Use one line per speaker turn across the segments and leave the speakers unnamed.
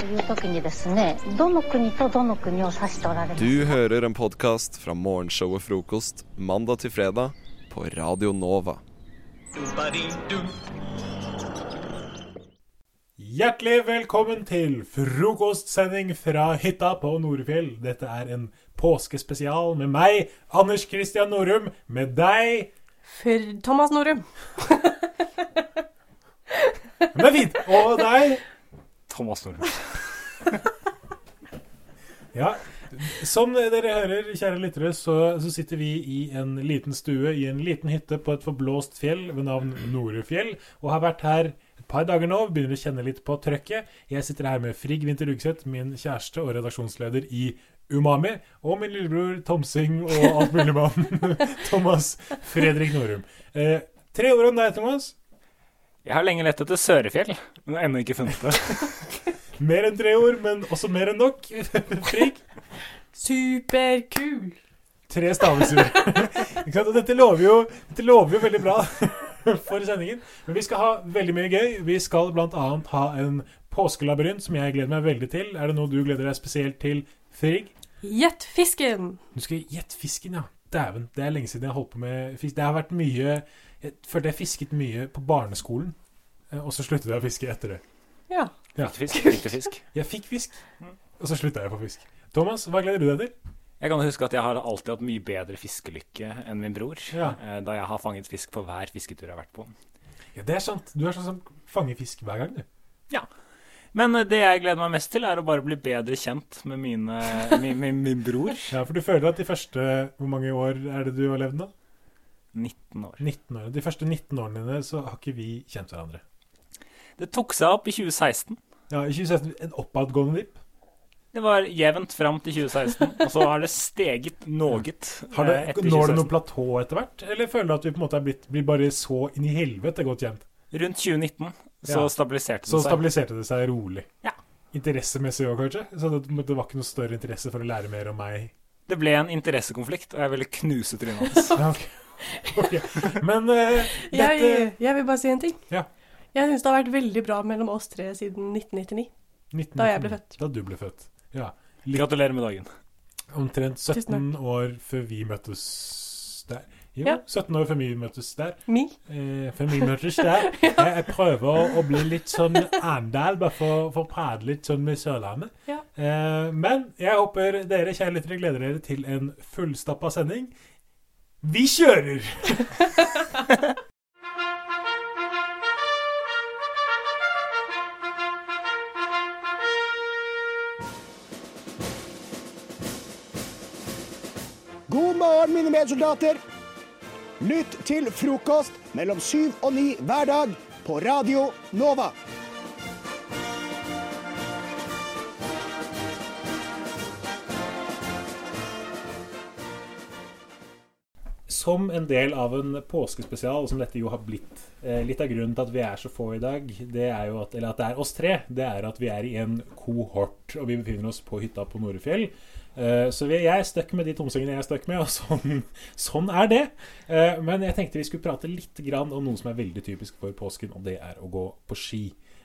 いう時にですねどの国とどの国を指しておられます
Du hører en podkast fra morgenshow og frokost mandag til fredag på Radio Nova.
Hjertelig velkommen til frokostsending fra hytta på Norefjell. Dette er en påskespesial med meg, Anders Christian Norum, med deg
For Thomas Norum.
Men det er fint! Og deg.
Thomas Nordrum.
Ja. Som dere hører, kjære lyttere, så, så sitter vi i en liten stue i en liten hytte på et forblåst fjell ved navn Norefjell, og har vært her et par dager nå. Begynner å kjenne litt på trøkket. Jeg sitter her med Frigg Winther Rugseth, min kjæreste og redaksjonsleder i Umami, og min lillebror Tomsing og altmuligmann Thomas Fredrik Norum. Eh, tre ord om deg, Thomas.
Jeg har lenge lett etter Sørefjell, men har ennå ikke funnet det.
Mer enn tre ord, men også mer enn nok. Frigg.
Superkul.
Tre stavelser. Ikke sant? Og dette lover, jo, dette lover jo veldig bra for sendingen. Men vi skal ha veldig mye gøy. Vi skal bl.a. ha en påskelabyrint som jeg gleder meg veldig til. Er det noe du gleder deg spesielt til, Frigg?
Gjett fisken.
Du skal gjette fisken, ja. Dæven, det er lenge siden jeg har holdt på med fisk. Det har vært mye Jeg følte jeg fisket mye på barneskolen, eh, og så sluttet jeg å fiske etter det.
Ja.
Fikk Fisk, fikk du fisk.
Jeg fikk fisk, og så slutta jeg på fisk. Thomas, hva gleder du deg til?
Jeg kan huske at jeg har alltid hatt mye bedre fiskelykke enn min bror,
Ja.
eh, da jeg har fanget fisk på hver fisketur jeg har vært på.
Ja, Det er sant. Du er sånn som fanger fisk hver gang, du.
Men eh, det jeg gleder meg mest til, er å bare bli bedre kjent med mine, min, min, min bror.
Ja, for du føler at de første Hvor mange år er det du har levd nå?
19 år.
19 år. De første 19 årene dine så har ikke vi kjent hverandre.
Det tok seg opp i 2016.
Ja, i 2016 En oppadgående vipp.
Det var jevnt fram til 2016, og så har det steget noget.
Har det,
eh, etter
når det noe
2016.
platå etter hvert? Eller føler du at vi på en måte er blitt, blir bare så inn i helvete godt kjent?
Rundt 2019 så
Ja.
stabiliserte det
Så
seg.
stabiliserte det seg rolig.
Ja.
Interessemessig òg, kanskje? Så det, det var ikke noe større interesse for å lære mer om meg?
Det ble en interessekonflikt, og jeg ville knuse trynet hans.
Ja, ok. Ok. Men eh, dette
Jeg, jeg vil bare si en ting.
Ja.
Jeg syns det har vært veldig bra mellom oss tre siden 1999.
1999,
da jeg ble født.
Da du ble født. Ja.
Gratulerer med dagen.
Omtrent
Tusen
17 år før vi møttes der. Jo,
Ja.
17 år før vi møttes der.
Mi.
Eh, før vi møttes der. jeg, jeg prøver å bli litt sånn Arendal, bare for, for å prate litt sånn med Sørlandet.
Ja.
Eh, men jeg håper dere, kjære lyttere, gleder dere til en fullstappa sending. Vi kjører!
God morgen, mine medsoldater. Lytt til frokost mellom syv og ni hver dag på Radio Nova.
Som en del av en påskespesial, som dette jo har blitt eh, Litt av grunnen til at vi er så få i dag, det er jo at, eller at det er oss tre, det er at vi er i en kohort. Og vi befinner oss på hytta på Norefjell. Eh, så vi, jeg er stuck med de tomsingene jeg er stuck med, og sånn, sånn er det. Eh, men jeg tenkte vi skulle prate litt grann om noe som er veldig typisk for påsken, og det er å gå på ski.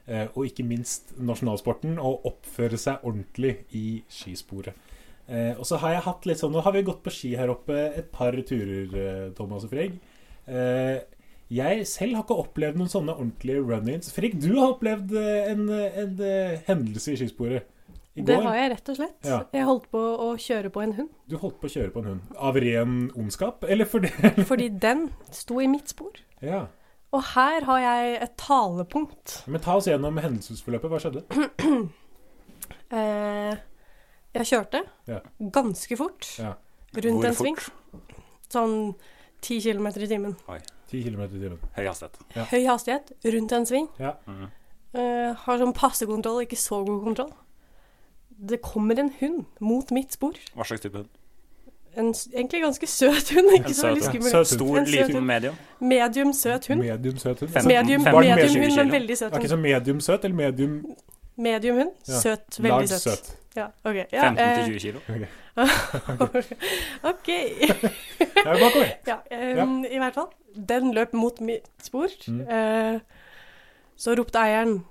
Eh, og ikke minst nasjonalsporten, og oppføre seg ordentlig i skisporet. Eh, og så har jeg hatt litt sånn Nå har vi gått på ski her oppe et par turer, eh, Thomas og Frigg. Eh, jeg selv har ikke opplevd noen sånne ordentlige run-ins. Frigg, du har opplevd eh, en, en, eh, hendelse i skisporet. I
Det
går.
har jeg rett og slett.
Ja.
Jeg holdt på å kjøre på en hund,
Du holdt på å kjøre på en hund. Av ren ondskap, eller fordi
fordi den sto i mitt spor.
Ja.
Og her har jeg et talepunkt.
Men ta oss gjennom hendelsesforløpet. Hva skjedde?
Eh, jeg kjørte
Ja.
ganske fort
Ja.
rundt
Hvor
en sving.
fort?
Sånn 10 kilometer i timen.
Ti kilometer i timen.
Høy hastighet.
Ja.
Høy hastighet rundt en sving.
Ja.
Mhm.
Eh, har sånn passe kontroll, ikke så god kontroll. Det kommer en hund mot mitt spor.
Hva slags type hund?
En s- egentlig ganske søt hund, ikke
En
så veldig
søt hund.
skummel.
Søt hund.
Stor,
En søt
liten,
hund.
medium.
Medium søt hund.
Medium søt hund.
Fem-
Medium,
Var den
medium
mer
hund,
20
men
kilo?
veldig søt
Det er ikke
hund.
så medium søt, eller medium
Medium hund,
Ja.
søt,
lag
veldig søt.
søt.
Ja, ok. Ja,
15-20 kilo.
eh, ok.
Ja, bakover.
Ja, em, i hvert fall. Den løp mot mitt spor.
Mm.
Eh, så ropte eieren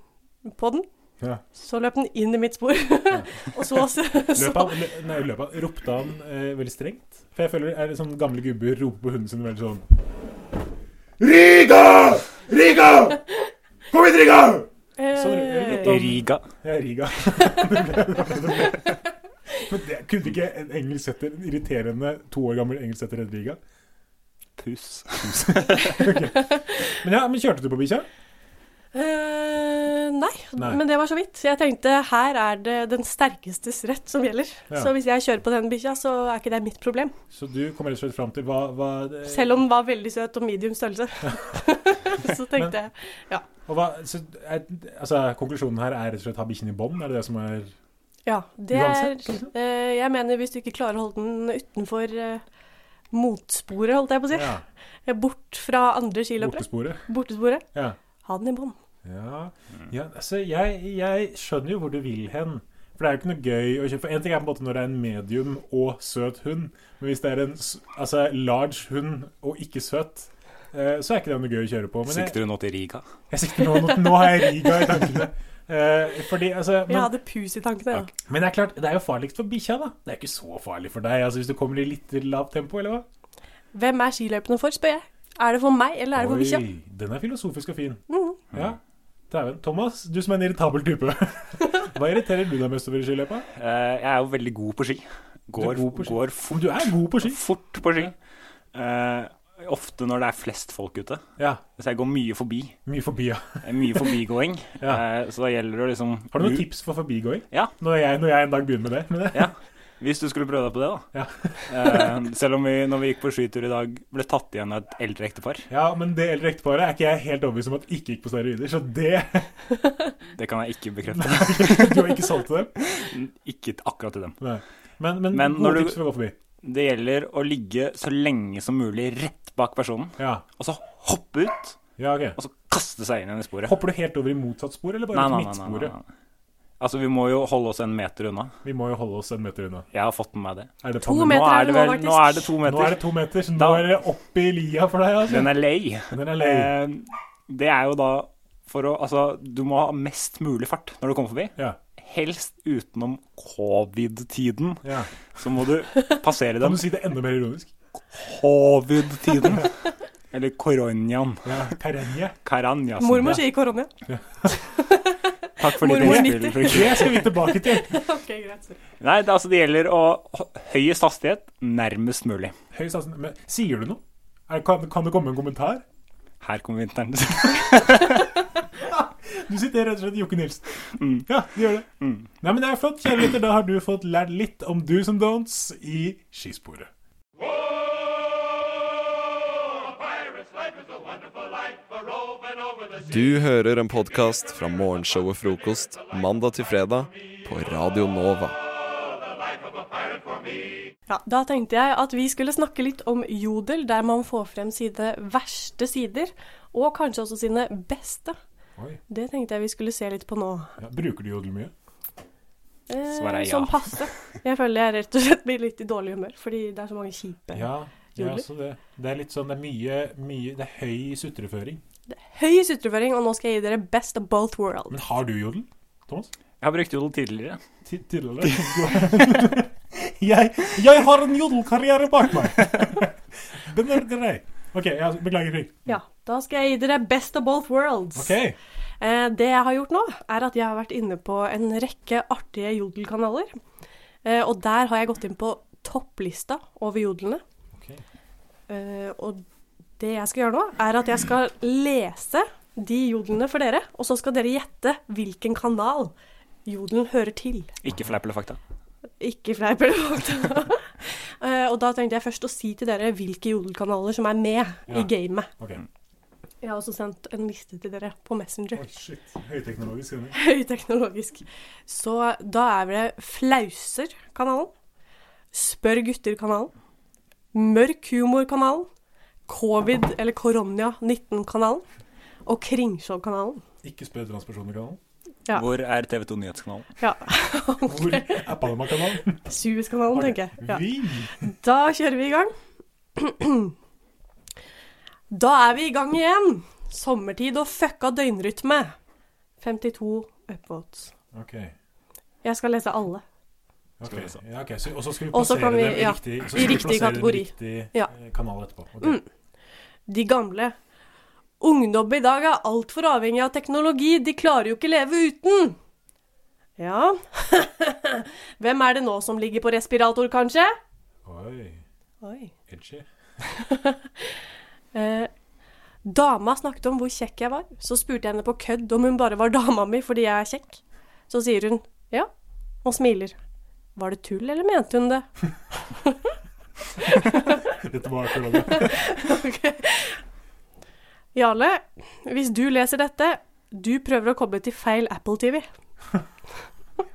på den.
Ja.
Så løp den inn i mitt spor. og så, så, så
Løp han, lø, nei, løp han, ropte han eh, veldig strengt? For jeg føler er det sånn gamle gubber roper på hunden sin veldig sånn Riga! Riga! Kom hit, Riga!
eh,
Sånn,
Riga.
Ja, Riga. Men det kunne ikke en engelsk setter, en irriterende to år gammel engelsk setter redde Riga?
Pus.
Men ja, men kjørte du på bikkja?
eh, nei,
Nei.
men det var så vidt. Jeg tenkte her er det den sterkestes rett som gjelder.
Ja.
Så hvis jeg kjører på den bikkja, så er ikke det mitt problem.
Så du kommer rett og slett fram til hva, hva eh,
Selv om den var veldig søt og medium størrelse. så tenkte jeg
og hva, så, er, altså, Konklusjonen her er rett og slett ha bikkjen i bånd? Er det det som er
Ja, det er
Uansett, liksom.
eh, Jeg mener hvis du ikke klarer å holde den utenfor eh, motsporet, holdt jeg på å si.
ja,
Eh, Bort fra andre skiløpere.
bortesporet?
Bortesporet.
Ja.
Ha den i bånd.
Ja, ja altså jeg, jeg skjønner jo hvor du vil hen. For det er jo ikke noe gøy å kjøpe. For En ting er på en måte når det er en medium og søt hund, men hvis det er en s- altså, large hund og ikke søt, eh, så er ikke det noe gøy å kjøre på. Men jeg,
Sikter du nå til Riga?
jeg sikter nå, nå, nå har jeg Riga i tankene. Eh, fordi, altså,
Jeg
men,
hadde pus i tankene. Ja.
men det er klart, det er jo farligst for bikkja, da. Det er ikke så farlig for deg altså, hvis du kommer i litt lavt tempo, eller hva?
Hvem er skiløypene for, spør jeg. Er det for meg, eller er det for bikkja?
Oi, den er filosofisk og fin.
Mm.
Ja. Dæven. Thomas, du som er en irritabel type. Hva irriterer du deg mest over i skiløypa?
Eh, jeg er jo veldig god på ski. Går,
god på ski?
går fort,
Men du er god på ski.
fort på ski. Eh, ofte når det er flest folk ute.
Ja,
Så jeg går mye forbi.
mye forbi, ja.
Det er Mye forbigåing.
Ja.
Eh, så da gjelder det å liksom
Har du noen tips for forbigåing?
Ja.
Når jeg, når jeg en dag begynner med det. Men det.
Ja. Hvis du skulle prøve deg på det, da.
Ja.
Eh, selv om vi når vi gikk på skitur i dag, ble tatt igjen av et eldre ektepar.
Ja, men det eldre ekteparet er ikke jeg helt overbevist om at ikke gikk på steroider, så det
Det kan jeg ikke bekrefte.
Du har ikke solgt til dem?
Ikke t- akkurat til dem.
Nei. Men, men,
Men når
gode
du-
tips for å gå forbi.
Det gjelder å ligge så lenge som mulig rett bak personen,
Ja.
og så hoppe ut,
ja, ok.
og så kaste seg inn igjen i sporet.
Hopper du helt over i motsatt spor, eller bare ut midtsporet?
nei. Altså, vi må jo holde oss en meter unna.
Vi må jo holde oss en meter unna.
Jeg har fått med meg det.
Er det
To
pandemi?
Nå
meter er
er
det
det,
nå,
vel,
faktisk.
nå er det to
Nå er
meter.
det to meter, så nå
Da-
er det opp i lia for deg, altså.
Den er lei.
Den er lei.
Eh, Det er jo da for å Altså, du må ha mest mulig fart når du kommer forbi.
Ja.
Helst utenom covid-tiden.
ja.
Så må du passere
Kan
den
du si det enda mer ironisk?
covid-tiden. Eller koronaen.
Ja, Karenje.
Karanja. som
Mormor
det
sier korona.
er. Takk for ditt
mormor
innspill. Frik.
Det skal vi tilbake til.
ok, greit. sorry.
Nei, det, altså, det gjelder å ha høyest hastighet nærmest mulig.
Høy satsen. Men sier du noe? Er, kan, kan det komme en kommentar?
Her kommer vinteren.
Du siterer rett og slett Jokke Nilsen. Ja, du gjør det. Nei, men det er flott, kjære lytter. Da har du fått lært litt om do's and don'ts i skisporet.
Du hører en podkast fra morgenshow og frokost mandag til fredag på Radio Nova.
Ja, da tenkte jeg at vi skulle snakke litt om jodel, der man får frem sine verste sider, og kanskje også sine beste.
Oi.
Det tenkte jeg vi skulle se litt på nå.
Ja, bruker du jodel mye?
Eh,
Svaret er ja.
Som passe. Jeg føler jeg rett og slett blir litt i dårlig humør, fordi det er så mange kjipe.
Ja.
Jodel?
så det. det er litt sånn, det er mye, mye Det er høy sutreføring.
Høy sutreføring, og nå skal jeg gi dere best of both world.
Men har du jodel, Thomas?
Jeg har brukt jodel tidligere.
Ti- Tidligere? jeg, jeg har en jodelkarriere bak meg! Den er grei. OK, ja, beklager, Frik.
Ja, da skal jeg gi dere best of both worlds.
Ok.
Eh, Det jeg har gjort nå, er at jeg har vært inne på en rekke artige jodelkanaler. Eh, Og der har jeg gått inn på topplista over jodelene.
Ok.
Eh, Og det jeg skal gjøre nå, er at jeg skal lese de jodelene for dere, og så skal dere gjette hvilken kanal jodelen hører til.
Ikke fleip eller fakta.
Ikke fleip eller fakta. Eh, Og da tenkte jeg først å si til dere hvilke jodelkanaler som er med
Ja.
i gamet.
ok.
Jeg har også sendt en liste til dere på Messenger.
Oi, shit. Høyteknologisk. skjønner jeg.
høyteknologisk. Så da er det Flauser-kanalen, Spør gutter-kanalen, Mørk humor-kanalen, Covid- eller Koronia-19-kanalen og Kringsjå-kanalen.
Ikke spør transpersoner-kanalen.
Ja.
Hvor er TV 2 Nyhetskanalen?
Ja,
Hvor er Panama-kanalen?
Suez-kanalen, tenker jeg. Ja.
Vi!
Da kjører vi i gang. Da er vi i gang igjen. Sommertid og fucka døgnrytme. 52 upvotes.
Ok.
Jeg skal lese alle.
ok.
Skal vi se.
Ja, ok, så- Og så skal vi
Og så
plassere
kan vi-
dem i
ja,
riktig, så
i
skal vi
riktig
plassere dem
kategori.
I riktig
Ja. Mm.
eh, kanal etterpå. Ok.
De gamle. Ungdom i dag er altfor avhengig av teknologi, de klarer jo ikke leve uten. Ja Hvem er det nå som ligger på respirator, kanskje?
Oi.
Oi.
Edgy.
Eh, dama snakket om hvor kjekk jeg var, så spurte jeg henne på kødd om hun bare var dama mi fordi jeg er kjekk. Så sier hun ja, og smiler. Var det tull, eller mente hun det?
Dette var akkurat det.
Jarle, hvis du leser dette, du prøver å koble til feil Apple TV.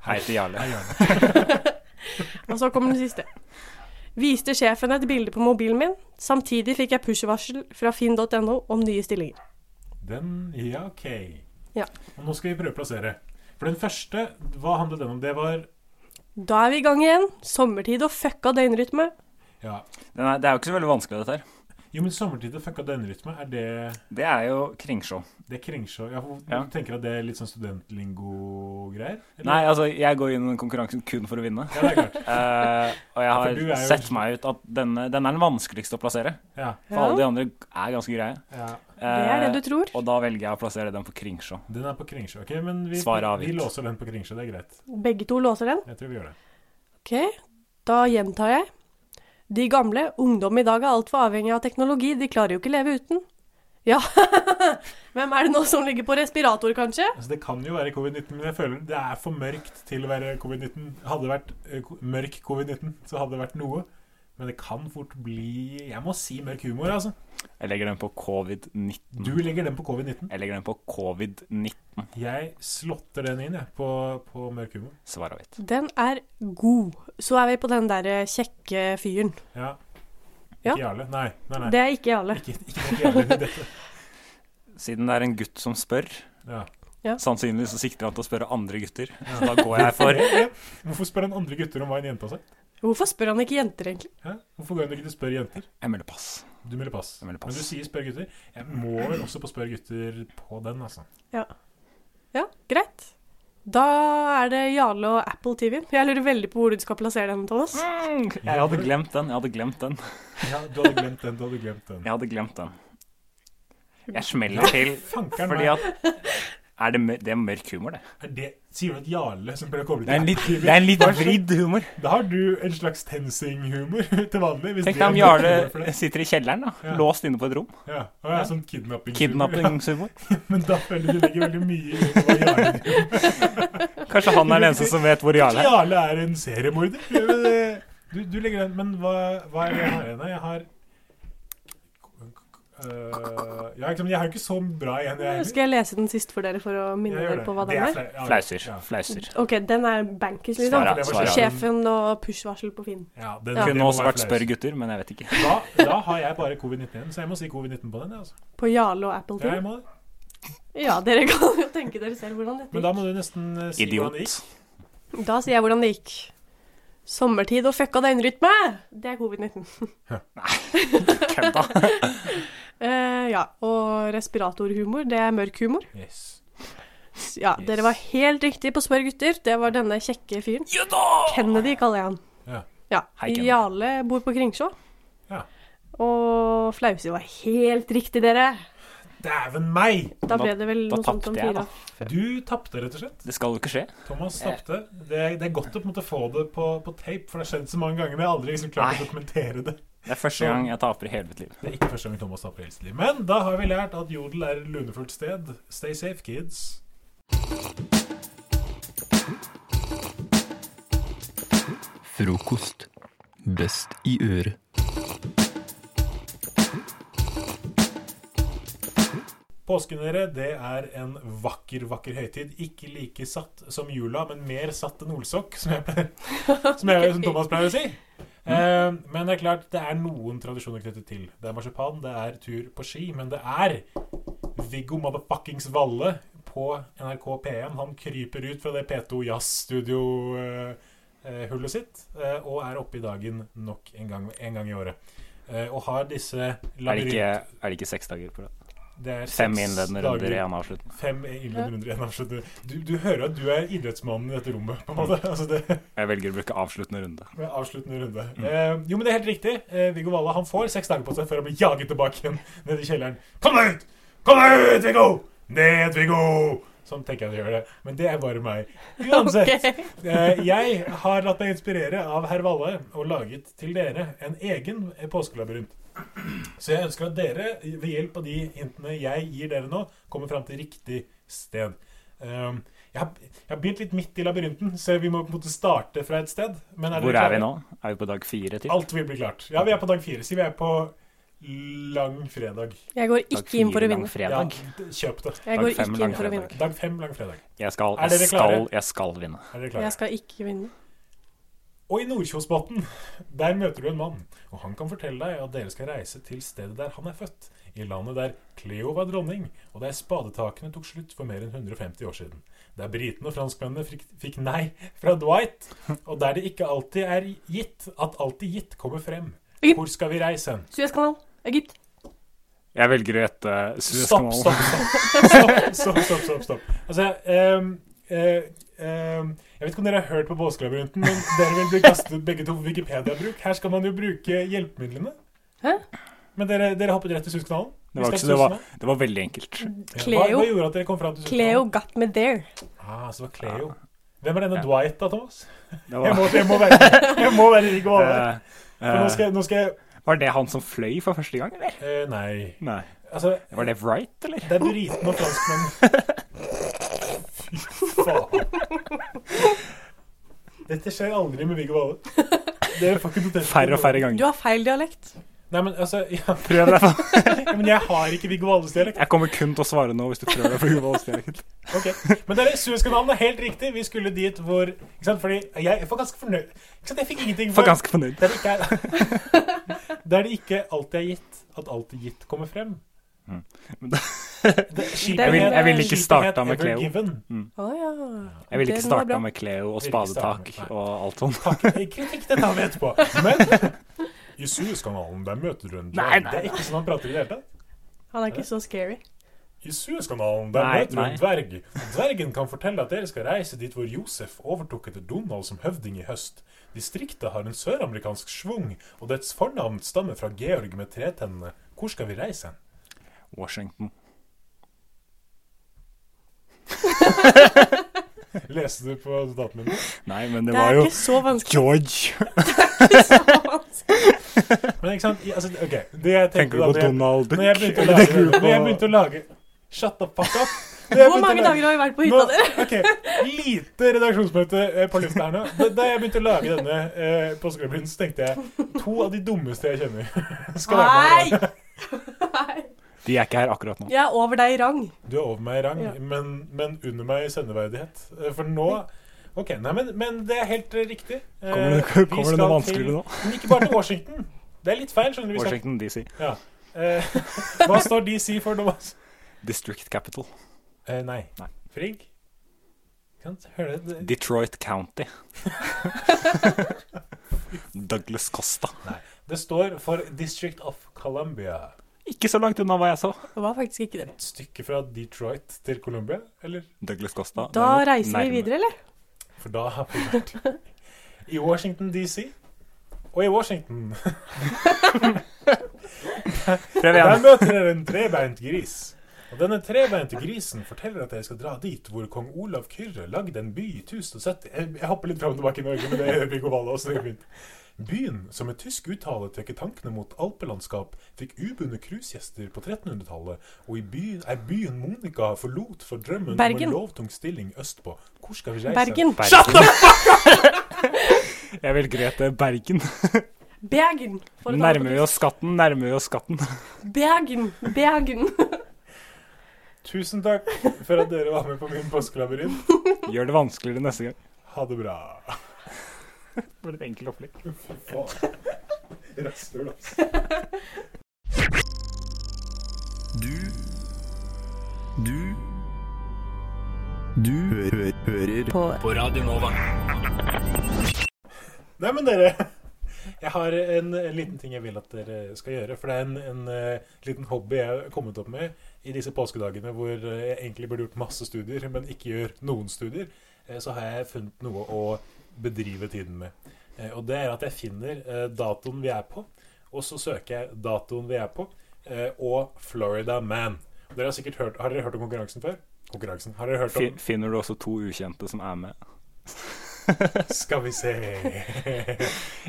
Hei til Jarle.
Og så kom den siste. Viste sjefen et bilde på mobilen min. Samtidig fikk jeg push-varsel fra finn.no om nye stillinger.
Den Ja, OK.
Ja.
Og nå skal vi prøve å plassere. For den første, hva handlet den om? Det var
Da er vi i gang igjen. Sommertid og fucka døgnrytme.
Ja.
Den er, det er jo ikke så veldig vanskelig, dette her.
Jo, men sommertid og fucka døgnrytme, er det
Det er jo kringsjå.
Det er kringsjå? Ja, for,
Ja.
Du tenker at det er litt sånn studentlingo-greier? eller?
Nei, altså, jeg går inn i den konkurransen kun for å vinne.
Ja, det er klart.
Eh, og jeg
for du er
har
jo-
sett meg ut at denne, den er den vanskeligste å plassere.
Ja,
For alle de andre er ganske greie. Eh,
ja.
Det er det du tror.
Og da velger jeg å plassere den på kringsjå.
Den er på kringsjå. Ok, men vi,
Svar avgitt.
vi låser den på kringsjå. Det er greit.
Begge to låser den.
Jeg tror vi gjør det.
Ok, da gjentar jeg. De gamle, ungdom i dag er altfor avhengig av teknologi, de klarer jo ikke leve uten. Ja, hvem er det nå som ligger på respirator, kanskje?
Altså, det kan jo være covid-19, men jeg føler det er for mørkt til å være covid-19. Hadde det vært ø, ko- mørk covid-19, så hadde det vært noe. Men det kan fort bli Jeg må si mørk humor, altså.
Jeg legger den på covid-19.
Du legger den på covid-19.
Jeg legger den på covid-19.
Jeg slotter den inn, jeg, på, på mørk humor.
Svaret mitt.
Den er god. Så er vi på den der eh, kjekke fyren.
Ja.
Ja.
Ikke Jarle. Nei, nei, nei.
Det er ikke Jarle.
Ikke, ikke tenk Jarle i dette.
Siden det er en gutt som spør,
Ja.
sannsynligvis så sikter han til å spørre andre gutter. Så da går jeg for
Hvorfor spør han andre gutter om hva en jente har sagt?
Hvorfor spør han ikke jenter, egentlig?
Hæ? Hvorfor går han ikke til å spørre jenter?
Jeg melder pass.
Du melder pass.
Jeg melder
Men
pass.
du sier spør gutter. Jeg må vel også på spør gutter på den, altså.
Ja. ja, greit. Da er det Jarle og Apple TV-en. Jeg lurer veldig på hvor du skal plassere den, Thomas.
Jeg hadde glemt den. Jeg hadde glemt den.
Ja, du hadde glemt den, du hadde glemt den.
Jeg hadde glemt den. Jeg smeller til
Fankeren meg.
fordi at er det, mør- det er mørk humor, det.
Er det, sier du at Jarle som prøver å koble
Det er en
til
litt, det er en litt vridd humor.
Da har du en slags tensing-humor til vanlig. hvis
Tenk
det
deg
er
om
litt humor for
Jarle
deg.
sitter i kjelleren, da.
Ja.
Låst inne på et rom.
Ja, og jeg er sånn kidnapping.
Kidnappingshumor.
Men da føler jeg du legger veldig mye i det. hva Jarle gjør.
Kanskje han er den eneste som vet hvor Jarle er.
Jarle er en seriemorder. Men, eh, Du, du legger den Men hva, hva er det jeg har igjen? da? Jeg har Øh, ja, ikke sant, men jeg har jo ikke så bra igjen, jeg heller.
Skal jeg lese den sist for dere for å minne
Jeg gjør
dere
det.
på hva
Det
den er?
flau- ja,
Flauser.
ja.
Flauser.
Ok, den er bankers, liksom.
Svaret,
svaret.
Sjefen og push-varsel på Finn.
Ja, den,
Ja.
den
Kunne
må
også
være
vært
flaus.
Spør gutter, men jeg vet ikke.
Da, da har jeg bare covid-19 igjen, så jeg må si covid-19 på den. jeg, Altså.
På Jarle og Apple
Ja, jeg
TV.
må det.
Ja, dere kan jo tenke dere selv hvordan dette
Men da må du nesten eh, si hvordan det
Idiot.
gikk.
gikk. Da sier jeg hvordan det gikk. Sommertid og fucka døgnrytme! Det er covid-19.
Kødda.
Eh, ja, og respiratorhumor, det er mørk humor.
Yes.
S- Ja, dere var helt riktig på Spør gutter. Det var denne kjekke fyren.
Ja da!
Kennedy kaller jeg han.
Ja.
Ja.
Hei, Kennedy.
Jarle bor på Kringsjå.
Ja.
Og Flause var helt riktig, dere.
Dæven meg!
Da ble det vel
da
noe sånt
tapte
om
jeg, da.
fire.
Du tapte, rett og slett.
Det skal jo ikke skje.
Thomas tapte. Det, er- det er godt å på en måte få det på, på tape, for det har skjedd så mange ganger. Men jeg har aldri liksom klart å
Nei.
dokumentere det.
Det er første gang jeg taper i hele mitt liv.
Det er ikke første gang Thomas taper i hele sitt liv. Men da har vi lært at jodel er et lunefullt sted. Stay safe, kids.
Frokost. Best i øret.
Påsken, dere, det er en vakker, vakker høytid. Ikke like satt som jula, men mer satt enn olsokk, som, jeg pleier, som, jeg, som Thomas pleier å si.
Mm.
Eh, men det er klart, det er noen tradisjoner knyttet til. Det er marsipan, det er tur på ski, men det er Viggo motherfuckings Valle på NRK P1. Han kryper ut fra det P2 Jazz-studio-hullet sitt eh, og er oppe i dagen nok en gang, en gang i året. Eh, og har disse
Er det ikke, er det ikke seks dager på det?
Det er
Fem
seks
innledende
dager-
runder i en avslutning.
Fem innledende runder igjen. avsluttende. Du, du hører at du er idrettsmannen i dette rommet, på en måte. Altså det,
Jeg velger å bruke avsluttende runde.
med avsluttende runde.
Mm.
Eh, jo, men det er helt riktig. Eh, Viggo Valle han får seks dager på seg før han blir jaget tilbake igjen ned i kjelleren. Kom deg ut! Kom deg ut, Viggo! Ned, Viggo! Sånn tenker jeg de gjør det. Men det er bare meg. Uansett.
Ok.
Eh, Jeg har latt meg inspirere av herr Valle og laget til dere en egen påskelabyrint. Så jeg ønsker at dere, ved hjelp av de hintene jeg gir dere nå, kommer fram til riktig sted. Um, Jeg har, jeg har begynt litt midt i labyrinten, så vi må på en måte starte fra et sted. Men dere
Hvor er vi
klare?
nå? Er vi på dag fire? Til?
Alt vil bli klart. Ja, vi er på dag fire. Si vi er på langfredag.
Jeg går
Dag
ikke inn for å
fire,
vinne.
Ja,
langfredag.
d- kjøp det.
Jeg
Dag
går
fem,
ikke inn for å vinne.
langfredag.
Dag fem langfredag.
Jeg skal,
Er dere
jeg skal,
klare?
jeg skal vinne.
Er dere klare?
Jeg skal ikke vinne.
Og i Nordkjosbotn, der møter du en mann, og han kan fortelle deg at dere skal reise til stedet der han er født, i landet der Cleo var dronning, og der spadetakene tok slutt for mer enn 150 år siden. Der britene og franskmennene fikk, fikk nei fra Dwight, og der det ikke alltid er gitt at alltid gitt kommer frem. Hvor skal vi reise hen?
Suezkanal. Egypt.
Jeg velger å gjette eh,
Stopp,
Suezkanalen.
stopp, stopp. Stopp, stopp, stopp, stopp, stopp. Altså, ehm, eh, ehm, jeg vet ikke om dere har hørt på Påskelabyrinten, men dere vil bli kastet begge to for Wikipedia-bruk. Her skal man jo bruke hjelpemidlene.
Hæ?
Men dere, dere hoppet rett til Suskanalen.
Det var, ikke, det, var, det var veldig enkelt.
Mm.
Hva, hva
Cleo.
gjorde at dere kom fram til
Cleo
Suskanalen?
got me there.
Ah, så det var Cleo. Hvem er denne Dwight, da, Thomas?
Det
Jeg
var,
må, jeg må være, jeg må være Viggo Valle.
eh,
For nå
eh,
skal, jeg- nå skal jeg
var det han som fløy for første gang, eller?
eh, Nei.
Nei.
Altså,
Var det Wright, eller?
det er britene og franskmennene. Fy faen. Dette skjer aldri med Viggo Valle. Dere får ikke protester.
Færre og færre
Du
ganger.
har feil dialekt.
Nei, men altså ja,
Prøv deg, da.
Men jeg har ikke Viggo Valles dialekt.
Jeg kommer kun til å svare nå hvis du prøver deg på uvalgsdialekt.
Ok, Men dere, Suezkanalen er helt riktig. Vi skulle dit hvor Ikke sant, fordi jeg var ganske fornøyd Ikke sant, jeg fikk ingenting
For ganske fornøyd.
Der det ikke er Der det ikke alltid er gitt at alltid gitt kommer frem.
Mm. Men
Det- skipet
Jeg vil- jeg
ville
het-
ikke
skipet
starta
het
med
Ever
Cleo.
Given.
Å ja.
Jeg ville
Den
ikke
var
starta
bra.
med Cleo og
Ville ikke starta med-
spadetak
nei.
og alt sånt.
Takk. Kritikk, dette har vi etterpå. Men i Suezkanalen, der møter du en dverg.
Nei, nei,
Det er ikke sånn han prater i det hele tatt.
Han er ikke så scary.
I Suezkanalen, der
Nei,
møter du
nei.
en dverg. Og dvergen kan fortelle at dere skal reise dit hvor Josef overtok etter Donald som høvding i høst. Distriktet har en søramerikansk schwung, og dets fornavn stammer fra Georg med tretennene. Hvor skal vi reise hen?
Washington.
Leste du på notatene mine?
Nei, men det
Det
var
er
jo
ikke så vanskelig.
George.
Men ikke sant, i- altså, ok, det jeg tenkte
Tenker du
da når
på
jeg-
Donald
Når jeg
Duck?
begynte å
Eller
lage,
tenker du
når jeg
på
begynte å lage Shut the fuck up! Når jeg
Hvor
begynte å
mange
lage-
dager har vi vært på hytta deres?
Nå- ok, Lite redaksjonsmøte eh, på lufta her nå. Da, da jeg begynte å lage denne eh, påskegrøten, så tenkte jeg to av de dummeste jeg kjenner. skal være med her i dag.
Nei! Nei.
De er ikke her akkurat nå.
Jeg er over deg i rang.
Du er over meg i rang,
Ja.
men, men under meg i sendeverdighet. Eh, For nå OK, nei, men, men det er helt eh, riktig. Eh,
Kommer det,
vi
kommer det
skal
noe
til-
vanskeligere nå?
Men ikke bare til Washington. Det er litt feil, skjønner du. Vi skal,
Washington DC.
eh, hva står DC for nå? Mads?
District Capital.
Eh, nei.
Nei.
Frigg? Kan høre det.
Detroit County. Douglas Costa.
det står for District of Columbia.
Ikke så langt unna hva jeg så.
Det var faktisk ikke det.
et stykke fra Detroit til Colombia, eller?
Douglas Costa.
Da
derimot,
reiser vi
nærme.
videre, eller?
For da har vi vært i Washington DC. Og i Washington
Prøv
Der
igjen.
møter dere en trebeint gris. Og denne trebeinte grisen forteller at dere skal dra dit hvor kong Olav Kyrre lagde en by i 1070 Jeg jeg hopper litt fram og tilbake i Norge, men det gjør Viggo Valle også. Det går fint. Byen, som med tysk uttale trekker tankene mot alpelandskap, fikk ubundne cruisegjester på 1300-tallet, og i byen er byen Monica forlot for drømmen om en
Bergen.
lovtung stilling østpå. Hvor skal vi reise?
Bergen.
Shut the fuck up! Jeg vil grete Bergen.
Bergen. for å ta det på
Nærmer vi oss skatten, nærmer vi oss skatten.
tysk. Bergen. Bergen.
Tusen takk for at dere var med på min påskelabyrint.
Gjør det vanskeligere neste gang.
Ha det bra.
Var det et enkelt opplegg?
Rasshøl, altså.
Du Du Du hø hø hører
På
på Radio Nova.
Nei, men dere Jeg har en, en liten ting jeg vil at dere skal gjøre. For det er en, en eh, liten hobby jeg har kommet opp med i disse påskedagene hvor eh, jeg egentlig burde gjort masse studier, men ikke gjør noen studier. eh, så har jeg funnet noe å bedrive tiden med. Eh, og det er at jeg finner eh, datoen vi er på, og så søker jeg datoen vi er på, eh, og Florida Man. Dere har sikkert hørt Har dere hørt om konkurransen før? Konkurransen. Har dere hørt om
Fin- Finner du også to ukjente som er med?
Skal vi se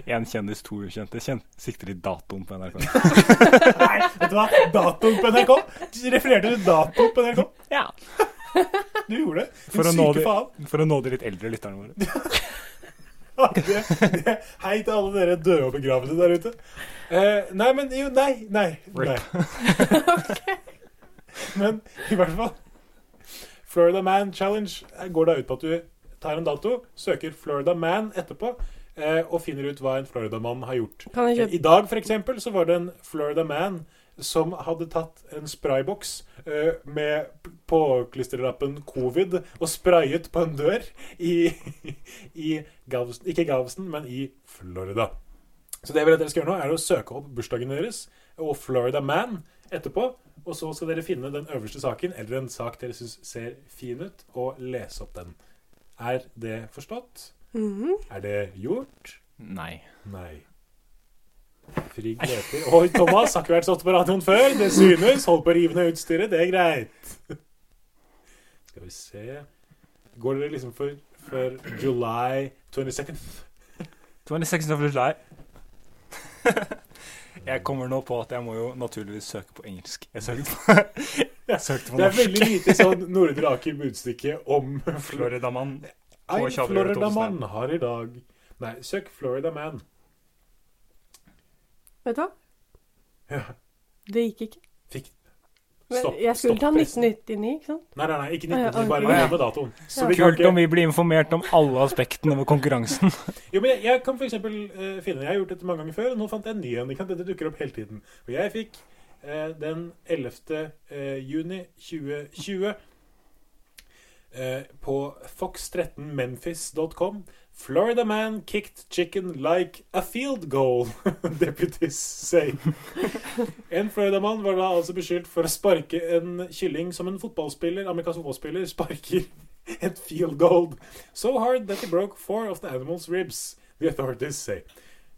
Én kjendis, to ukjente. Kjen sikter de datoen på NRK?
Nei, vet du hva? Datoen på NRK. Refererte du datoen på NRK?
Ja.
Du gjorde det.
For
Din
å, nå
syke
de,
faen.
for å nå de litt eldre lytterne våre.
Det, det, hei til alle dere døde og begravede der ute. Eh, nei, men jo, nei, nei. nei. Men i hvert fall Florida Man Challenge eh, går da ut på at du tar en dato, søker Florida Man etterpå, eh, og finner ut hva en Florida-mann har gjort.
Kan jeg
Eh, I
kjøpe
dag for eksempel, så var det en Florida man som hadde tatt en sprayboks eh, med p- påklistrelappen 'covid' og sprayet på en dør i, i Galveston, ikke Galveston, men i Florida. Så det jeg vil at dere skal gjøre nå, er å søke opp bursdagen deres og Florida Man etterpå. Og så skal dere finne den øverste saken, eller en sak dere syns ser fin ut, og lese opp den. Er det forstått?
Mhm.
Er det gjort?
Nei.
Nei. Frigg leter. Oi, Thomas har ikke vært så ofte på radioen før. Det synes. Hold på å rive ned utstyret. Det er greit. Skal vi se Går dere liksom for, for July 22nd?
26. of July. jeg kommer nå på at jeg må jo naturligvis søke på engelsk. Jeg søkte på, jeg søkte på
Det er veldig
norsk.
lite sånn Nordre Aker budstikke om Florida.
Floridamann.
Ein
På Tjadre
Florida
Thomsen.
Man har i dag Nei, søk Florida Man.
Vet du hva?
Ja.
Det gikk ikke.
Fikk
Men
Stopp.
jeg skulle ta
stopp pressen.
1999, ikke sant?
Nei, nei, nei, ikke
Å, ja,
1999.
ok.
Bare glem datoen. Så vi kan
Kult
ikke-
om vi blir informert om alle aspektene ved konkurransen.
Jo, men jeg, jeg kan for eksempel eh, finne Jeg har gjort dette mange ganger før, og nå fant jeg en ny en. ikke sant? Dette dukker opp hele tiden. Og jeg fikk eh, den 11. eh, juni 2020 eh, på fox13memphis.com Florida man kicked chicken like a field goal, deputies say. En Florida-mann var da altså beskyldt for å sparke en kylling som en fotballspiller, amerikansk fotballspiller sparker et field goal So hard that he broke four of the animal's ribs, the authorities say.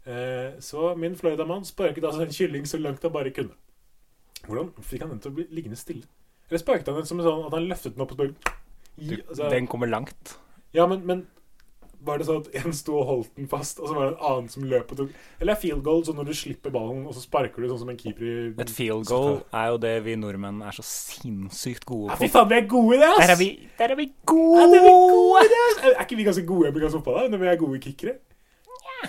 Eh, så min Florida-mann sparket altså en kylling så langt han bare kunne. Hvordan fikk han den til å bli liggende stille? Eller sparket han den som en sånn at han løftet den opp og spurte
Du,
altså,
den kommer langt.
Ja, men, men var det sånn at en sto og holdt den fast, og så var det en annen som løp og tok Eller er field goal sånn når du slipper ballen, og så sparker du sånn som en keeper i
Et field goal er jo det vi nordmenn er så sinnssykt gode
Ja, Fy
på.
faen, vi er gode i det, ass!
Der er vi, der er vi
Ja, det er vi
gode!
gode i det, ass! Er ikke vi ganske gode i amerikansk fotball, da? Når vi er gode kickere?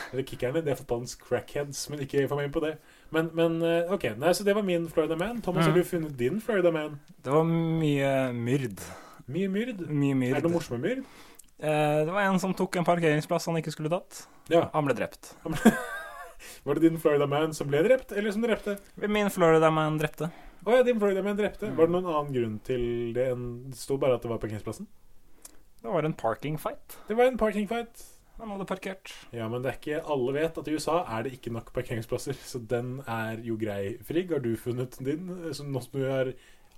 Eller kickerne. Det er fotballens crackheads, men ikke få meg inn på det. Men, men eh, OK. Nei, så det var min Florida Man. Thomas,
Mm.
har du funnet din Florida Man?
Det var mye myrd.
Mye myrd.
Mye
Er det
myrd.
noe morsomme myrd?
Eh, det var en som tok en parkeringsplass han ikke skulle tatt.
Ja.
Han ble drept.
Var det din Florida Man som ble drept, eller som drepte?
Min Florida-man drepte.
Å ja, din Florida Man drepte. Var det noen annen grunn til det enn Det sto bare at det var parkeringsplassen?
Det var en parking fight.
Det var en parking fight.
Han hadde parkert.
Ja, men det er ikke Alle vet at i USA er det ikke nok parkeringsplasser, så den er jo grei. Frigg, har du funnet din? Så nå som du er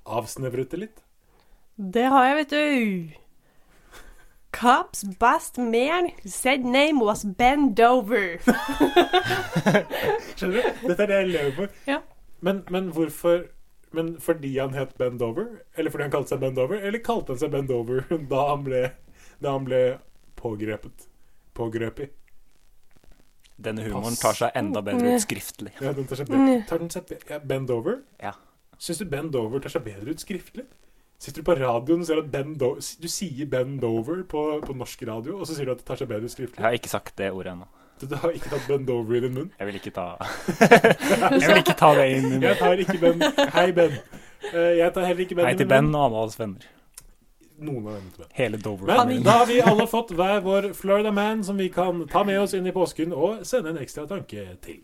avsnevret det litt?
Det har jeg, vet du. Cops best man said name was Ben Dover.
Skjønner du? Dette er det jeg lever for.
Ja.
Men, men hvorfor Men fordi han het Ben Dover? Eller fordi han kalte seg Ben Dover? Eller kalte han seg Ben Dover da han ble, da han ble pågrepet? Pågrepet.
Denne humoren tar seg enda bedre ut skriftlig.
Ja, den tar seg bedre. Tar den seg be ja, ben Dover?
Ja.
Syns du Ben Dover tar seg bedre ut skriftlig? Sitter du på radioen og ser at ben Do Du sier Ben Dover på, på norsk radio, og så sier du at det tar seg bedre ut
Jeg
skriftlig?
har ikke sagt det ordet ennå.
Du, du har ikke tatt Ben Dover i din munn?
Jeg vil ikke ta Jeg vil ikke ta det inn i
Jeg
min
tar ikke Ben. Hei, Ben. Eh, Jeg tar heller ikke Ben.
Hei
i
til Ben
min munn.
og alle hans venner.
Noen av vennene til Ben.
Hele Dover.
Men da har vi alle fått hver vår Florida Man som vi kan ta med oss inn i påsken og sende en ekstra tanke til.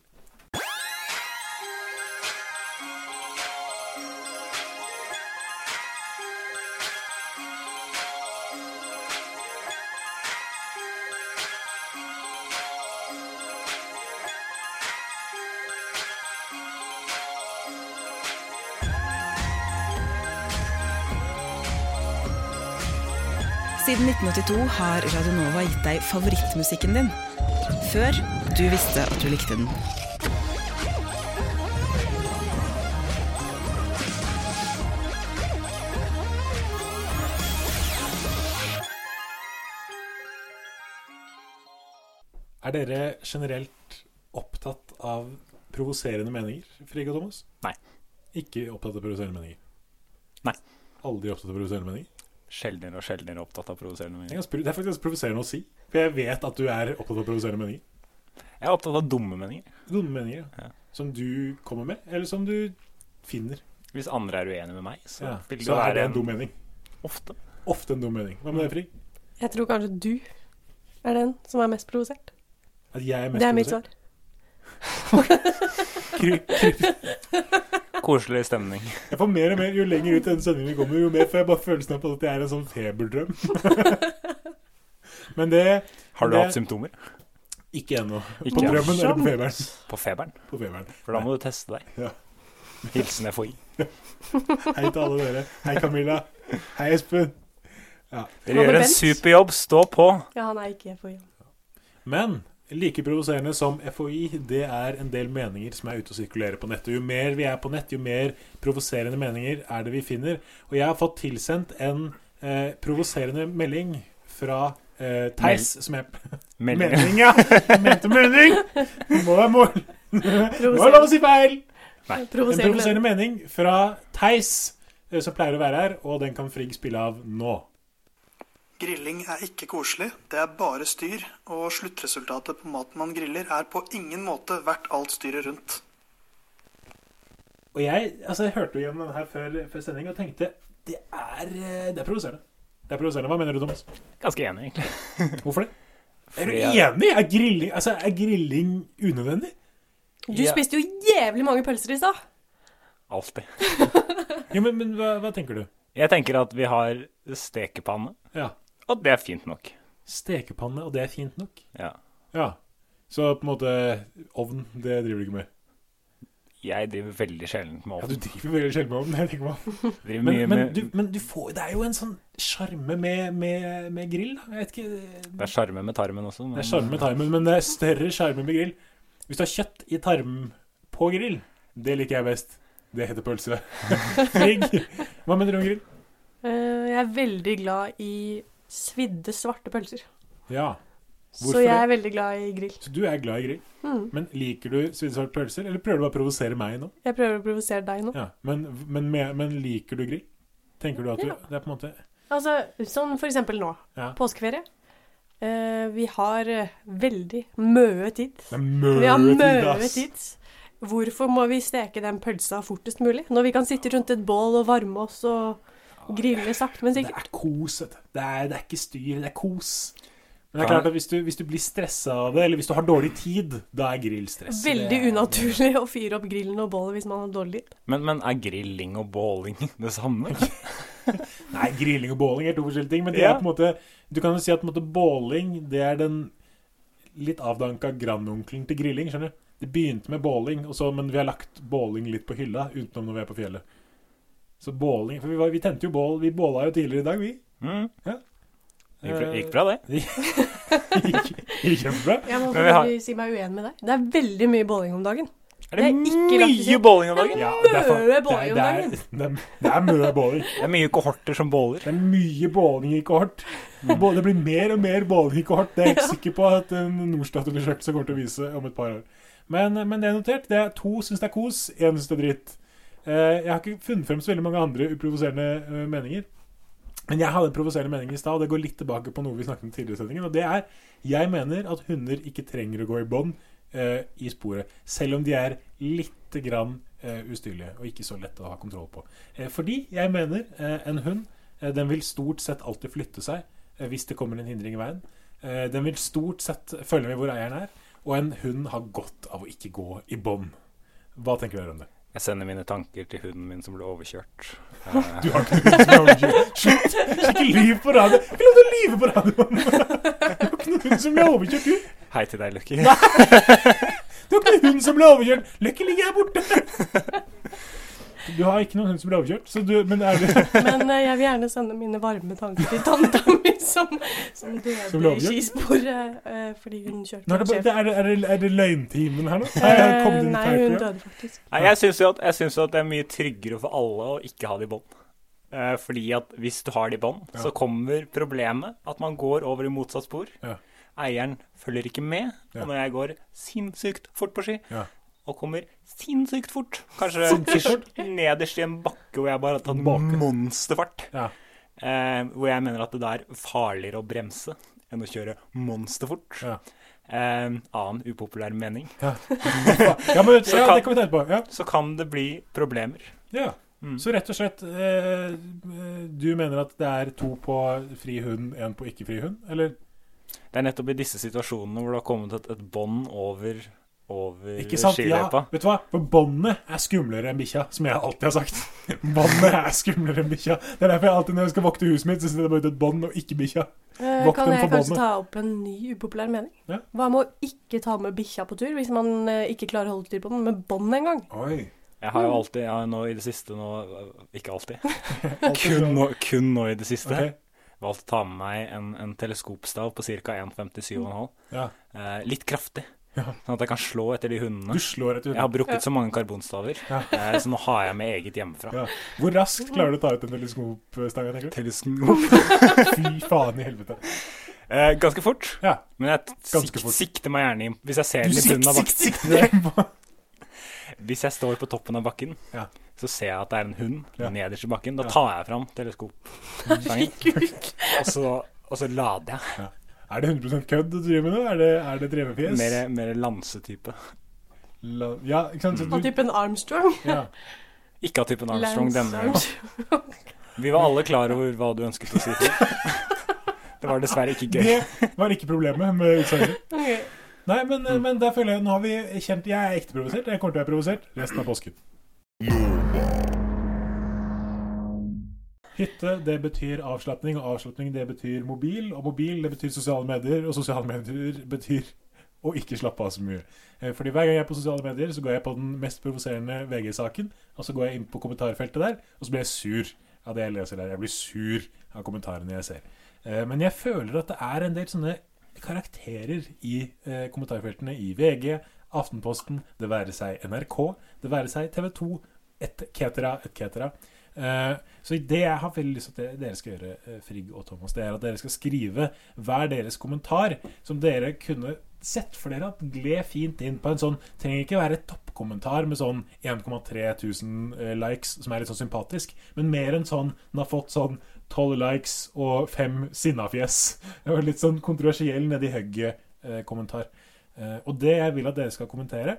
Siden 1982 har Radionova gitt deg favorittmusikken din. Før du visste at du likte den.
Er dere generelt opptatt av provoserende meninger, Frigg og Thomas?
Nei.
Ikke opptatt av provoserende meninger?
Nei.
Aldri opptatt av provoserende meninger?
Sjeldnere og sjeldnere opptatt av provoserende
Det er
meninger.
ganske- det er faktisk provoserende å si, for jeg vet at du er opptatt av provoserende meninger.
Jeg er opptatt av dumme meninger.
Noen meninger
Ja.
ja. som du kommer med, eller som du finner.
Hvis andre er uenige med meg, så
Ja.
vil det
Så er det
være
en dum mening.
Ofte.
Ofte en dum mening. Hva med det, Frigg?
Jeg tror kanskje du er den som er mest provosert.
At jeg er mest
Det er mitt
provosert?
svar.
Koselig stemning.
Jeg får mer og mer, Jo lenger ut i denne sendingen vi kommer, jo mer får jeg bare følelsen av at jeg er en sånn feberdrøm. Men det
Har du
Det-
hatt symptomer?
ikke ennå. På
Ikke ennå.
drømmen eller på feberen.
På feberen?
På feberen.
For da må du teste deg.
Ja.
Hilsen FHI.
Hei til alle dere. Hei, Camilla. Hei, Espen.
Hva
Dere
med
gjør en
Bent?
super jobb, stå på!
Ja, han er ikke for jobb.
Men like provoserende som FHI, det er en del meninger som er ute og sirkulerer på nettet. Jo mer vi er på nett, jo mer provoserende meninger er det vi finner. Og jeg har fått tilsendt en eh, provoserende melding fra eh, Theis, som jeg
Melding.
Melding, ja! Jeg Mente melding! Det må være mål. Det var lov å si feil! En provoserende
Provoserende.
mening fra Theis, eh, som pleier å være her, og den kan Frigg spille av nå.
Grilling er ikke koselig, det er bare styr, og sluttresultatet på maten man griller er på ingen måte verdt alt styret rundt.
Og jeg, altså jeg hørte jo igjen den her før, før sending og tenkte det er, eh, det er provoserende. Det er provoserende. Hva mener du, Thomas?
Ganske enig, egentlig.
Hvorfor det? Er du
Fordi jeg-
enig? Er grilling, altså, er grilling unødvendig?
Du
Ja.
spiste jo jævlig mange pølser i stad.
Alltid.
Jo, men, men hva, hva tenker du?
Jeg tenker at vi har stekepanne,
Ja.
og det er fint nok.
Stekepanne, og det er fint nok?
Ja.
Ja. Så på en måte Ovn, det driver du ikke med?
Jeg driver veldig sjelden med
Ja, du
ovn.
driver veldig sjelden med ovn. jeg tenker meg om.
Driver
Men,
mye
men,
med
du, men du får, det er jo en sånn sjarme med, med, med grill, da. Jeg vet ikke
Det er sjarme med tarmen også.
Det
Men
er sjarme med tarmen, men det er større sjarme med grill. Hvis du har kjøtt i tarm på grill, det liker jeg best. Det heter pølse. Frigg, hva mener du om grill?
Eh, Jeg er veldig glad i svidde, svarte pølser.
Ja, Hvorfor
Så jeg er veldig glad i grill.
så du er glad i grill.
Mm.
Men liker du svinesvarte pølser, eller prøver du bare å provosere meg nå?
Jeg prøver å provosere deg nå.
Ja, men, men, men, men liker du grill? Tenker du at du
Ja.
Det er på en måte
Altså, sånn for eksempel nå.
Ja.
Påskeferie. Eh, vi har eh, veldig møe tid.
Det er
Vi har
møretid,
møe
ass!
tid. Hvorfor må vi steke den pølsa fortest mulig? Når vi kan sitte rundt et bål og varme oss og grille sakte, men
Det
sikkert.
er kos, vet du. Det er, det er ikke styr, det er kos. Men det er klart at hvis du, hvis du blir stressa av det, eller hvis du har dårlig tid, da er grill stress.
Veldig
Det er-
unaturlig å fyre opp grillen og bålet hvis man har dårlig tid.
Men, men er grilling og båling det samme?
Nei, grilling og båling er to forskjellige ting, men det
Ja.
er på en måte Du kan jo si at på en måte båling, det er den litt avdanka grandonkelen til grilling, skjønner du? Det begynte med båling, og så, men vi har lagt båling litt på hylla utenom når vi er på fjellet. Så båling For vi, var, vi tente jo bål. Vi båla jo tidligere i dag, vi.
Mm.
Ja.
Det gikk, gikk bra, det.
Gikk gikk kjempebra.
Jeg må
Men vi har-
faktisk si meg uenig med deg. Det er veldig mye båling om dagen.
Er det
Jeg er ikke
mye
lakris.
båling om dagen?
Ja, det er faen-
Møe båling
det
om
er- Det er, det er møe båling.
Det er mye kohorter som båler.
Det er mye båling i kohort. Bå- Det blir mer og mer båling i kohort. Det er jeg ikke sikker på at en Norstat-undersøkelse kommer til å vise om et par år. Men, men det er notert. Det er to syns det er kos, én syns det er dritt. Eh, Jeg har ikke funnet frem så veldig mange andre uprovoserende eh, meninger. Men jeg hadde en provoserende mening i stad, og det går litt tilbake på noe vi snakket om tidligere i sendingen. Og det er jeg mener at hunder ikke trenger å gå i bånd eh, i sporet. Selv om de er lite grann eh, ustyrlige og ikke så lette å ha kontroll på. Eh, fordi jeg mener eh, en hund Eh, Den vil stort sett alltid flytte seg eh, hvis det kommer en hindring i veien. Eh, Den vil stort sett følge med hvor eieren er. Og en hund har godt av å ikke gå i bånd. Hva tenker dere om det?
Jeg sender mine tanker til hunden min som ble overkjørt. Eh,
Du har ikke noe hund som er overkjørt. Slutt! Ikke lyv på radio. Ikke lov til å lyve på radioen! Du har ikke noen hund som ble overkjørt, du.
Hei til deg, Lucky.
Du har ikke noen hund som ble overkjørt. Lykke ligger her borte. Du har ikke noen hund som blir overkjørt, så du, men er du
Men eh, jeg vil gjerne sende mine varme tanker til tanta mi som, som
Som
døde
ble
i
overkjørt?
skisporet eh, fordi hun kjørte
Nå er det, bare-
skjevt.
det er, er, det, er det løgntimen her nå?
Eh,
Kom det
Nei,
litt her,
hun
ja.
døde faktisk.
Nei, jeg syns jo, at- jeg syns jo at det er mye tryggere for alle å ikke ha det i bånd. Eh, fordi at hvis du har det i bånd,
Ja.
så kommer problemet at man går over i motsatt spor.
Ja.
Eieren følger ikke med,
Ja.
og når jeg går sinnssykt fort på ski,
Ja.
og kommer sinnssykt fort, kanskje
Sinnssykt fort?
nederst i en bakke hvor jeg bare har tatt
Bakke.
monsterfart,
Ja.
eh, hvor jeg mener at det da er farligere å bremse enn å kjøre monsterfort.
Ja.
Eh, annen upopulær mening.
Ja, men,
Så
ja,
kan-
det kan vi tenke på. Ja.
Så kan det bli problemer.
ja.
Mm.
Så rett og slett eh, Du mener at det er to på fri hund, én på ikke fri hund? Eller
Det er nettopp i disse situasjonene hvor det har kommet et, et bånd over, over
ikke sant? Ja,
skiløypa.
vet du hva? For båndet er skumlere enn bikkja, som jeg alltid har sagt. Båndet er skumlere enn bikkja. Det er derfor jeg alltid når jeg skal vokte huset mitt, så setter jeg bare ut et bånd og ikke bikkja.
Eh,
Vokt
Kan
dem
jeg
for båndet.
kanskje ta opp en ny upopulær mening?
Ja.
Hva med å ikke ta med bikkja på tur hvis man eh, ikke klarer å holde styr på den? Med bånd en gang?
Oi.
Jeg har jo alltid, jeg har jo nå i det siste nå Ikke alltid. kun, nå, kun nå i det siste.
Ok.
Valgt å ta med meg en, en teleskopstav på ca. 1,57,5.
Ja.
Eh, litt kraftig,
Ja.
sånn at jeg kan slå etter de hundene.
Du slår etter
Jeg har brukket så mange karbonstaver,
Ja.
eh, så nå har jeg med eget hjemmefra.
Ja. Hvor raskt klarer du å ta ut en teleskopstang? tenker du?
Teleskop.
Fy faen i helvete.
Eh, ganske fort,
Ja.
men jeg
Ganske
sik
fort.
sikter meg gjerne inn hvis jeg ser
Du
den i bunnen av bakken.
sikter deg på
Hvis jeg står på toppen av bakken,
Ja.
så ser jeg at det er en hund
Ja.
nederst i bakken. Da
Ja.
tar jeg fram teleskopstangen, og, så- og så lader jeg.
Er det 100 kødd du driver med nå? Er det, er det drevefjes?
Mer, mer lansetype.
La, ja, ikke sant?
Av
Så du,
typen Armstrong?
ja.
Ikke av typen Armstrong
Lance
denne gangen.
Armstrong.
Vi var alle klar over hva du ønsket å si til. Det var dessverre ikke gøy.
Det var ikke problemet med utsagnet.
Ok.
Nei, men, men der føler jeg Nå har vi kjent Jeg er ekte provosert. Jeg kommer til å være provosert resten av påsken. Hytte, det betyr avslapning, og avslapning, det betyr mobil. Og mobil, det betyr sosiale medier, og sosiale medier betyr å ikke slappe av så mye. Eh, Fordi hver gang jeg er på sosiale medier, så går jeg på den mest provoserende VG-saken, og så går jeg inn på kommentarfeltet der, og så blir jeg sur av det jeg leser der. Jeg blir sur av kommentarene jeg ser. Eh, Men jeg føler at det er en del sånne karakterer i eh, kommentarfeltene i VG, Aftenposten, det være seg NRK, det være seg TV 2, et cetera, et cetera. Eh, så det jeg har veldig lyst til at dere skal gjøre, eh, Frigg og Thomas, det er at dere skal skrive hver deres kommentar som dere kunne sett for dere at gled fint inn på en sånn Trenger ikke være toppkommentar med sånn 1,3000 likes, som er litt sånn sympatisk, men mer enn sånn den har fått sånn 12 likes og fem sinnafjes. Det var litt sånn kontroversiell nedi hugget-kommentar. Eh, og det jeg vil at dere skal kommentere,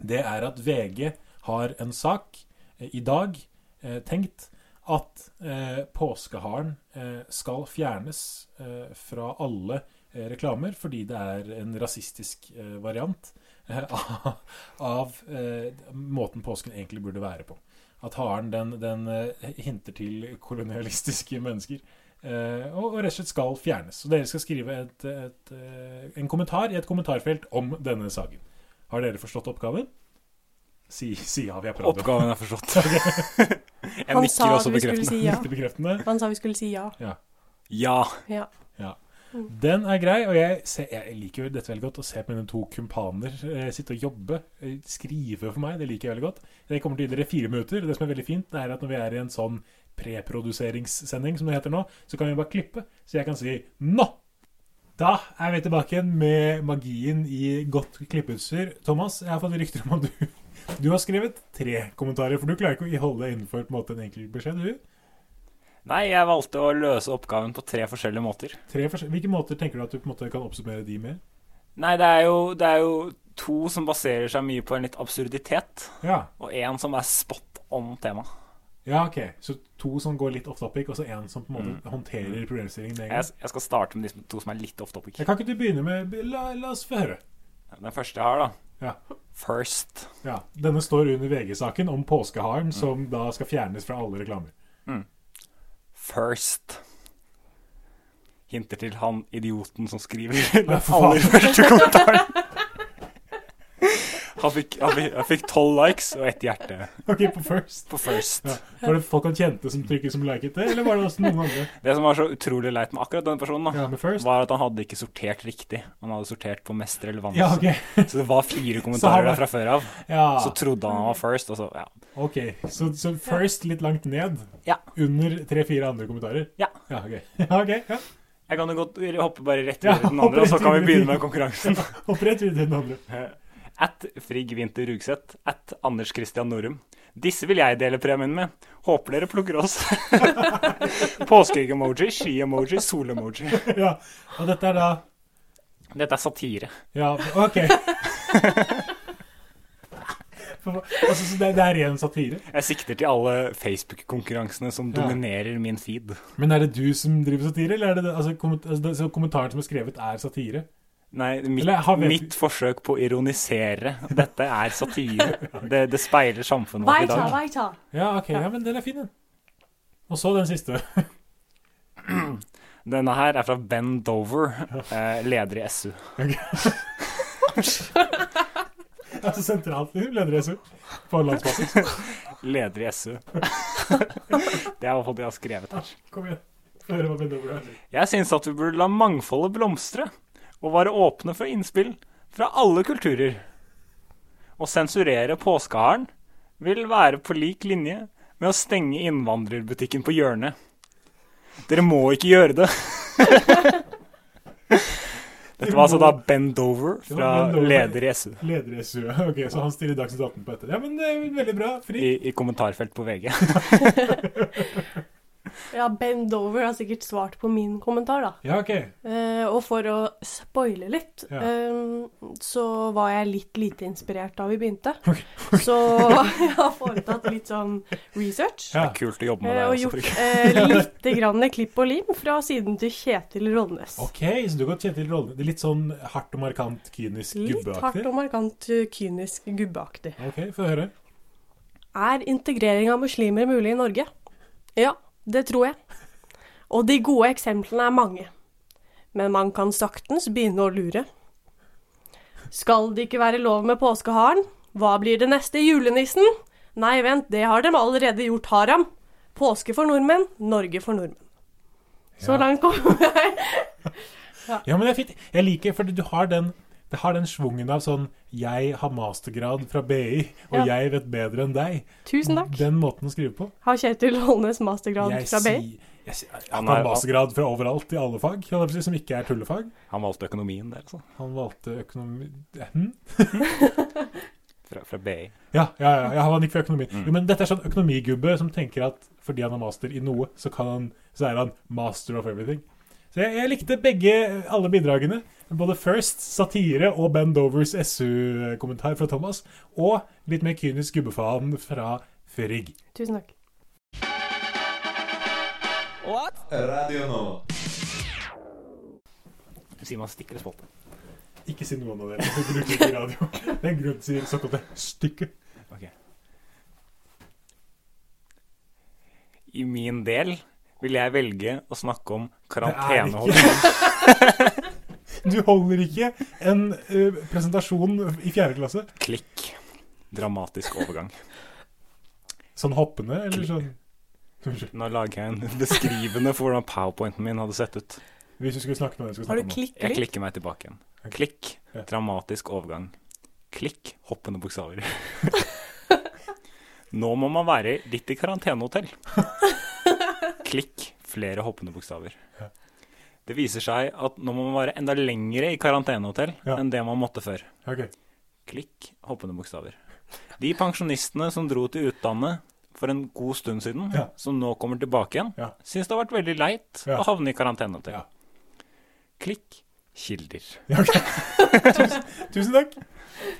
det er at VG har en sak eh, i dag eh, tenkt at eh, påskeharen eh, skal fjernes eh, fra alle eh, reklamer fordi det er en rasistisk eh, variant eh, av, av eh, måten påsken egentlig burde være på. At haren den, den eh, hinter til kolonialistiske mennesker. Eh, og, og rett og slett skal fjernes. Så dere skal skrive et, et, eh, en kommentar i et kommentarfelt om denne saken. Har dere forstått oppgaven? Si, si ja, vi er på radio.
Oppgaven er forstått. Jeg
Han sa
nikker
at
også
vi skulle
bekreftende.
si ja.
Ikke bekreftende.
Han sa vi skulle si ja.
Ja.
Ja.
Den er grei, og jeg, ser, jeg liker jo dette veldig godt. Å se på mine to kumpaner eh, sitte og jobbe, eh, skrive for meg. Det liker jeg veldig godt. Det kommer til å gi dere fire minutter. Det som er veldig fint, det er at når vi er i en sånn preproduseringssending, som det heter nå, så kan vi bare klippe, så jeg kan si nå! Da er vi tilbake igjen med magien i godt klippeutstyr. Thomas, jeg har fått rykter om at du, du har skrevet tre kommentarer, for du klarer ikke å holde deg innenfor på en måte en enkel beskjed, du?
Nei, jeg valgte å løse oppgaven på tre forskjellige måter.
Tre forskjell- Hvilke måter tenker du at du på en måte kan oppsummere de med?
Nei, det er jo, det er jo to som baserer seg mye på en litt absurditet,
Ja,
og en som er spot on tema.
Ja, ok. Så to som går litt off topic, og så en som på en måte håndterer problemstillingen med en gang.
Mm. Jeg, jeg skal starte med de som- to som er litt off topic.
Jeg kan ikke du begynne med La, la oss få høre.
Den første jeg har, da.
Ja.
First.
ja. Denne står under VG-saken om
Mm.
påskeharen som da skal fjernes fra alle reklamer.
First. Hinter til han idioten som skriver den
faen?
aller første kommentaren. Han fikk- han fikk- han fikk tolv likes og ett hjerte
Ok, på first.
på first.
Var det folk han kjente som trykket som liket det, eller var det også noen andre?
Det som var så utrolig leit med akkurat den personen, da,
Ja, med first.
var at han hadde ikke sortert riktig. Han hadde sortert på mest relevans.
Ja, ok.
Så det var fire
Så han
kommentarer
var-
der fra før av.
Ja,
Så trodde han han var first, og så ja.
ok. Så, så first litt langt ned.
Ja.
Under tre-fire andre kommentarer.
Ja.
Ja, ok. Ja, ok, ja.
Jeg kan jo godt hoppe bare rett
Ja,
videre til den andre, og så
hoppe rett
kan vi
videre
begynne
til-
med konkurransen.
Opprett videre til den andre.
At Frigg Winther Rugseth. At Anders Christian Norum. Disse vil jeg dele premien med. Håper dere plukker oss. Påskeegg-emoji, ski-emoji, sol-emoji.
Ja, og dette er da...
Dette er satire.
Ja, ok. For- altså, så det, det er ren satire.
Jeg sikter til alle Facebook-konkurransene som
Ja.
dominerer min feed.
Men er det du som driver satire, eller er det altså, komment altså, det, så kommentaren som er skrevet, er satire?
Nei, mitt,
Eller har vi-
mitt forsøk på å ironisere. Dette er satire. Det, det speiler samfunnet vårt i
Weiter,
dag.
weiter.
Ja, ok, ja, men den er fin, den. Og så den siste.
Denne her er fra Ben Dover, eh, leder i SU.
Altså sentralt liv, leder jeg så. På landsbasis.
Leder i SU. Det er i hvert fall det jeg har skrevet her.
Kom igjen. Få høre hva min dobbel er.
Jeg syns at vi burde la mangfoldet blomstre, og være åpne for innspill fra alle kulturer. Å sensurere påskeharen vil være på lik linje med å stenge innvandrerbutikken på hjørnet. Dere må ikke gjøre det. Dette var altså da Ben Dover fra
Det var Ben Dover.
leder i SU
Leder jeg så. Ok, så han stiller Dagsnytt 18 på etter. Ja, men det er jo veldig bra. Fri.
i, i kommentarfelt på VG.
Ja, Ben Dover har sikkert svart på min kommentar, da.
Ja, ok.
Eh, og for å spoile litt,
Ja.
eh, så var jeg litt lite inspirert da vi begynte. så jeg har foretatt litt sånn research.
Ja.
Kult å jobbe med
eh,
altså. det.
og gjort
også.
eh, lite grann klipp og lim fra siden til Kjetil Rollnes.
Ok, så du har gått kjent til rollen. Det er litt sånn hardt og markant kynisk
Litt hardt
gubbeaktig.
og markant eh, kynisk gubbeaktig.
Ok, få høre.
Er integrering av muslimer mulig i Norge? Ja, det tror jeg. Og de gode eksemplene er mange. Men man kan saktens begynne å lure. Skal det ikke være lov med påskeharen? Hva blir det neste julenissen? Nei, vent, det har dem allerede gjort haram. Påske for nordmenn, Norge for nordmenn. Så langt kom jeg.
Ja, men det er fint. Jeg liker, for du har den det har den svungen av sånn 'jeg har mastergrad fra BI, og
Ja.
jeg vet bedre enn deg'.
Tusen takk.
Den måten å skrive på.
Har Kjetil Holnes mastergrad
Jeg
fra
sier
BI?
jeg sier- Han
er-
har mastergrad fra overalt, i alle fag, holdt jeg på å si, som ikke er tullefag.
Han valgte økonomien der, altså.
Han valgte økonomi... Hm?
Fra, fra BI.
Ja, ja, ja, ja, han gikk for økonomi. Jo, men dette er sånn økonomigubbe som tenker at fordi han har master i noe, så, kan han, så er han master of everything. Så jeg, jeg likte begge, alle bidragene. Både First, satire og Ben Dovers SU-kommentar fra Thomas. Og litt mer kynisk gubbefaen fra Frigg.
Tusen takk.
Sier man stikker i spalten.
Ikke si noen av dere som bruker det i radio. Det er en grunn til såkalte stykke.
I min del vil jeg velge å snakke om
Det er ikke-
karantenehold.
Du holder ikke en eh, presentasjon i fjerde klasse
Klikk. Dramatisk overgang.
sånn hoppende, eller sånn Unnskyld.
Nå lager jeg en beskrivende for hvordan powerpointen min hadde sett ut.
Hvis du skulle snakke med den du skulle
Har
snakke med.
du
Jeg
klikket litt?
klikker meg tilbake igjen. Klikk.
Ja.
Dramatisk overgang. Klikk. Hoppende bokstaver. Nå må man være litt i karantenehotell. Klikk. Flere hoppende bokstaver. Det viser seg at nå må man være enda lengre i karantenehotell
Ja.
enn det man måtte før.
Ok.
Klikk, hoppende bokstaver. De pensjonistene som dro til utlandet for en god stund siden,
Ja.
som nå kommer tilbake igjen,
Ja.
syns det har vært veldig leit
Ja.
å havne i karantene til.
Ja.
Klikk, kilder.
Tusen takk.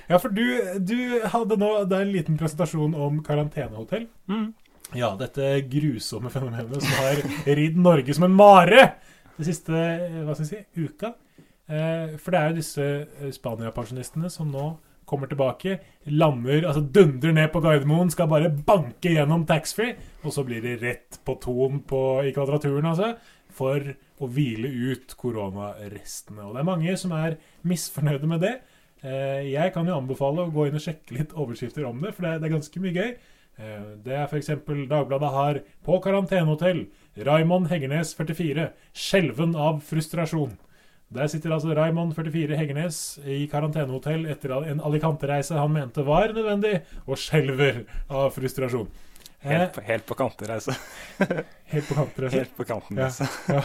Ja, for du, du hadde nå det er en liten presentasjon om karantenehotell. Ja, dette grusomme fenomenet som har ridd Norge som en mare det siste eh, hva skal jeg si, uka. Eh, For det er jo disse eh, Spania-pensjonistene som nå kommer tilbake, lander, altså dundrer ned på Gardermoen, skal bare banke gjennom taxfree, og så blir det rett på tonen på, i kvadraturen, altså, for å hvile ut koronarestene. Og det er mange som er misfornøyde med det. Eh, Jeg kan jo anbefale å gå inn og sjekke litt overskrifter om det, for det er, det er ganske mye gøy. Eh, Det er f.eks. Dagbladet har 'På karantenehotell'. Raymond Hengernes 44. Skjelven av frustrasjon. Der sitter altså Raymond 44 Hengernes i karantenehotell etter en Alicante-reise han mente var nødvendig, og skjelver av frustrasjon. Eh,
Helt på, helt på kantereise.
Helt på kantreise.
Helt på kanten.
Ja,
altså.
ja.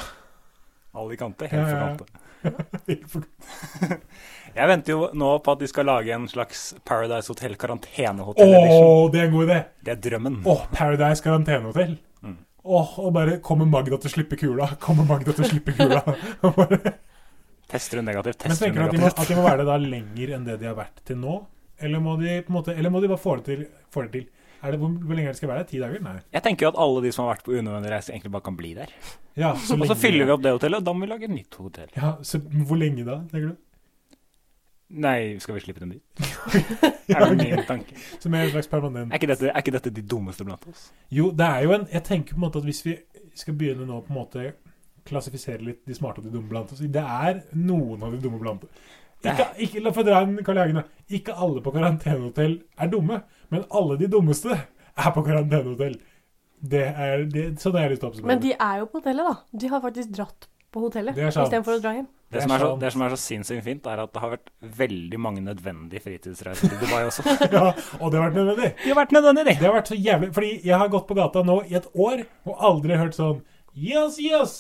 Alicante, helt
Ja,
på
ja, ja.
kanten. Jeg venter jo nå på at de skal lage en slags Paradise Hotel
Å,
karantenehotell-edition.
det er en god idé!
Det er drømmen.
Åh, Paradise karantenehotell.
Mm.
Åh, og bare kommer Magda til å slippe kula? Kommer Magda til å slippe kula? Og bare-
Tester hun negativt,
Men
tester hun
tenker du at de, må,
negativt.
at de må være det da lenger enn det de har vært til nå? Eller må de på en måte, eller må de bare få det til? Få det til? Er det, hvor, hvor lenge er det skal være? Ti dager? Nei.
Jeg tenker jo at alle de som har vært på unødvendig reise, egentlig bare kan bli der.
Ja, så
Og
lenge,
så fyller vi opp det hotellet, og da må vi lage et nytt hotell.
Ja, så Hvor lenge da, tenker du?
Nei, skal vi slippe dem dit? Er det min tanke?
Som er en slags permanent
Er ikke dette, er ikke dette de dummeste blant oss?
Jo, det er jo en Jeg tenker på en måte at hvis vi skal begynne nå på en måte klassifisere litt de smarte og de dumme blant oss Det er noen av de dumme blant oss. Ikke, ikke, la få dra en Karl I. Hagen. da. Ikke alle på karantenehotell er dumme, men alle de dummeste er på karantenehotell. Det er, det, sånn er det til å oppsummere.
Men de er jo på hotellet, da. De har faktisk dratt på hotellet
Det er sant.
istedenfor å dra hjem.
Det, som er så, det som er så sinnssykt fint, er at det har vært veldig mange nødvendige fritidsreiser til Dubai også. De
ja, og det har vært nødvendig.
har vært nødvendige,
Det har vært så jævlig Fordi jeg har gått på gata nå i et år og aldri hørt sånn Yes, yes!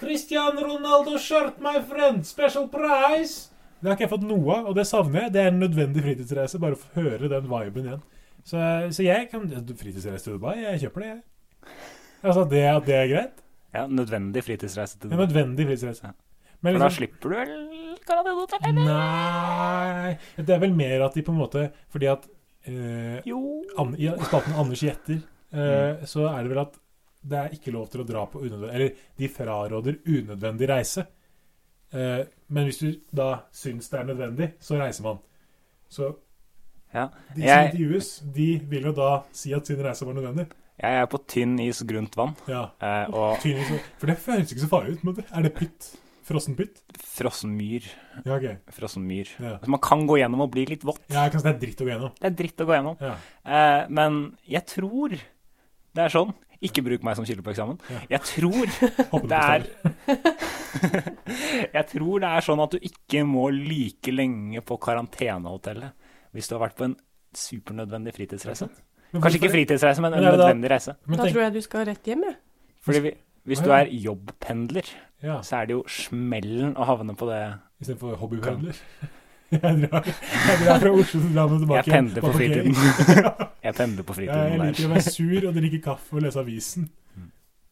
Cristian Ronaldo shirt, my friend! Special price! Det har ikke jeg fått noe av, og det savner jeg. Det er en nødvendig fritidsreise. Bare for å høre den viben igjen. Så, så jeg kan Fritidsreise til Dubai, jeg kjøper det, jeg. Altså det at det er greit?
Ja, nødvendig fritidsreise til
En
Dubai.
nødvendig fritidsreise. Men
For da
liksom-
slipper du vel karantenehotellet? eller?
Nei Det er vel mer at de på en måte Fordi at eh,
Jo.
An, I spalten Anders gjetter, eh,
Mm.
så er det vel at det er ikke lov til å dra på unødvendig Eller de fraråder unødvendig reise. Eh, men hvis du da syns det er nødvendig, så reiser man. Så
Ja.
de som
Jeg,
intervjues, de vil jo da si at sin reise var nødvendig.
jeg er på tynn is, grunt vann.
Ja,
eh, Og
tydeligvis. For det høres ikke så farlig ut. Men det- er det pytt? Frossen pytt?
frossen myr.
Ja, ok.
Frossen myr.
Ja.
Så Altså, man kan gå gjennom og bli litt vått.
Ja, kanskje det er dritt å gå gjennom.
Det er dritt å gå gjennom.
Ja.
Eh, men jeg tror det er sånn Ikke bruk meg som kilde på eksamen. Jeg tror
Håper
det er
består.
Jeg tror det er sånn at du ikke må like lenge på karantenehotellet hvis du har vært på en supernødvendig fritidsreise.
Men
Kanskje ikke
hvorfor-
fritidsreise, men en
Men er det da-
nødvendig reise.
Men
Da
tenk,
tror jeg du skal rett hjem, jeg.
Fordi vi, hvis du er jobbpendler,
ja,
så er det jo smellen å havne på det
Istedenfor hobbypendler. Jeg drar, jeg drar fra Oslo til Drammen og tilbake.
Jeg pendler på
igjen.
fritiden. Jeg pendler på
Ja, jeg
fritiden
liker å
der.
være sur og drikke kaffe og lese avisen.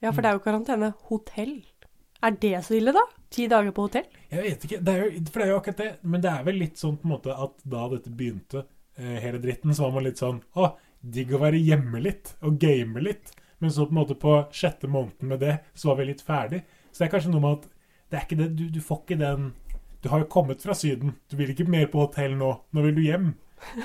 Ja,
Mm.
for det er jo karantenehotell. Er det så ille, da? Ti dager på hotell?
Jeg vet ikke, det er jo, for det er jo akkurat det. Men det er vel litt sånn på en måte at da dette begynte, eh, hele dritten, så var man litt sånn Å, digg å være hjemme litt og game litt. Men så på en måte på sjette måneden med det, så var vi litt ferdig. Så det er kanskje noe med at det er ikke det, du, du får ikke den Du har jo kommet fra Syden. Du vil ikke mer på hotell nå. Nå vil du hjem.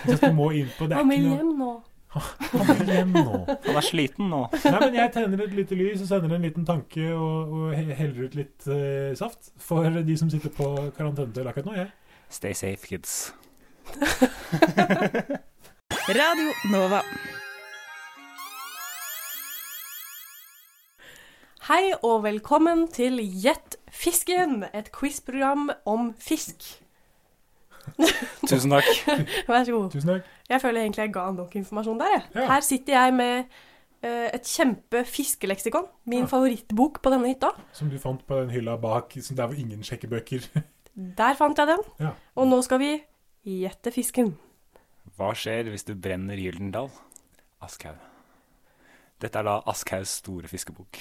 Så du må inn på det er
Han
ikke
vil
noe-
hjem nå.
Han vil hjem nå.
Han er sliten nå.
Nei, men jeg tenner et lite lys og sender en liten tanke og, og he- heller ut litt eh, saft for de som sitter på karantenehotell akkurat nå. Jeg.
Stay safe, kids.
Radio Nova.
Hei og velkommen til Gjett fisken, et quizprogram om fisk.
Tusen takk.
Vær så god.
Tusen takk.
Jeg føler egentlig jeg ga nok informasjon der, jeg.
Ja.
Her sitter jeg med eh, et kjempe fiskeleksikon. Min favorittbok på denne hytta.
Som du fant på den hylla bak som der hvor ingen sjekker bøker.
Der fant jeg den.
Ja.
Og nå skal vi gjette fisken.
Hva skjer hvis du brenner Gyldendal? Aschhaug. Dette er da Aschhaugs store fiskebok.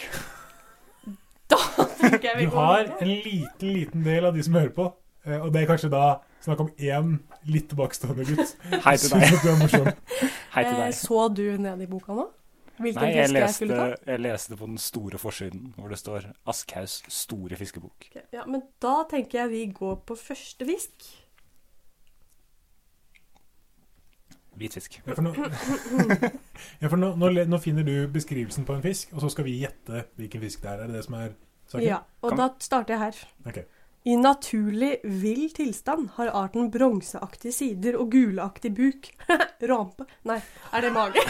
Okay,
Du har en liten, liten del av de som hører på, eh, og det er kanskje da snakk om én litt tilbakestående gutt.
Hei til deg.
Synes at du er morsom.
Hei til deg.
Så du ned i boka nå? Eh, Hvilken
Nei, jeg
fisk jeg
leste,
skulle ta?
jeg leste på den store forsiden hvor det står 'Askhaugs store fiskebok'.
Ok, Ja, men da tenker jeg vi går på første fisk.
Hvitfisk.
Ja, for, nå, ja, for nå, nå, le- nå finner du beskrivelsen på en fisk, og så skal vi gjette hvilken fisk det er. Er det det som er saken?
Ja, og
Kom.
da starter jeg her.
Ok.
I naturlig vill tilstand har arten bronseaktige sider og guleaktig buk. Rampe Nei, er det mage?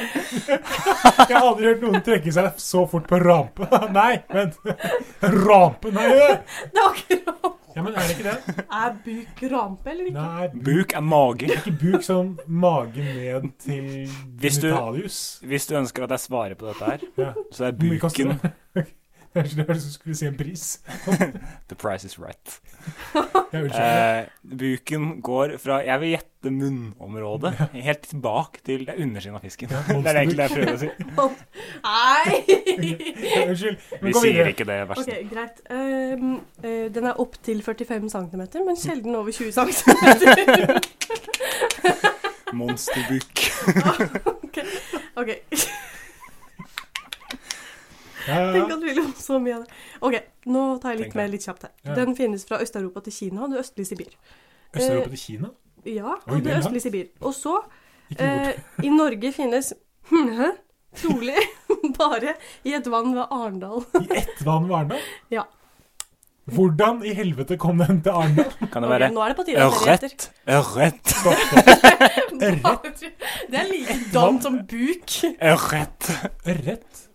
Jeg har aldri hørt noen trekke seg så fort på rampe. Nei, vent. Rampe, nei.
Det var ikke rampe.
Ja, men er det ikke det?
Er buk rampe eller ikke?
Nei, bu-
Buk er mage.
ikke buk sånn mage ned til
Hvis du-
genitalius.
Hvis du ønsker at jeg svarer på dette her,
Ja.
så er
Hvor mye koster
buken
det? Jeg hørte du skulle si en pris.
The price is right.
Jeg unnskyld.
Eh, buken går fra Jeg vil gjette munnområdet helt tilbake til det er undersiden av fisken.
Ja,
Det er egentlig det jeg prøver å si.
Sånn. Nei!
Ja, Unnskyld.
Vi sier ikke det verste.
Ok, greit. Ehm, eh, den er opp til 45 cm, men sjelden over 20 cm.
Monsterbuk.
ok,
Ja, ja,
tenk
ja.
at du vil om så mye av det. Ok, nå tar jeg litt
Tenk deg.
mer litt kjapt her.
Ja.
Den finnes fra Øst-Europa til Kina og det østlige Sibir.
Øst-Europa til Kina?
Ja,
Oi,
og
det
det
er
østlige Sibir. Og så,
Ikke
eh, i Norge finnes hm, trolig bare i et vann ved Arendal.
bort. I ett vann ved Arendal?
Ja.
Hvordan i helvete kom den til Arendal?
Kan det
Ok,
være
nå er det på tide at dere gjetter.
ørret? Ørret.
Det er like dumt som buk.
Ørret.
Ørret?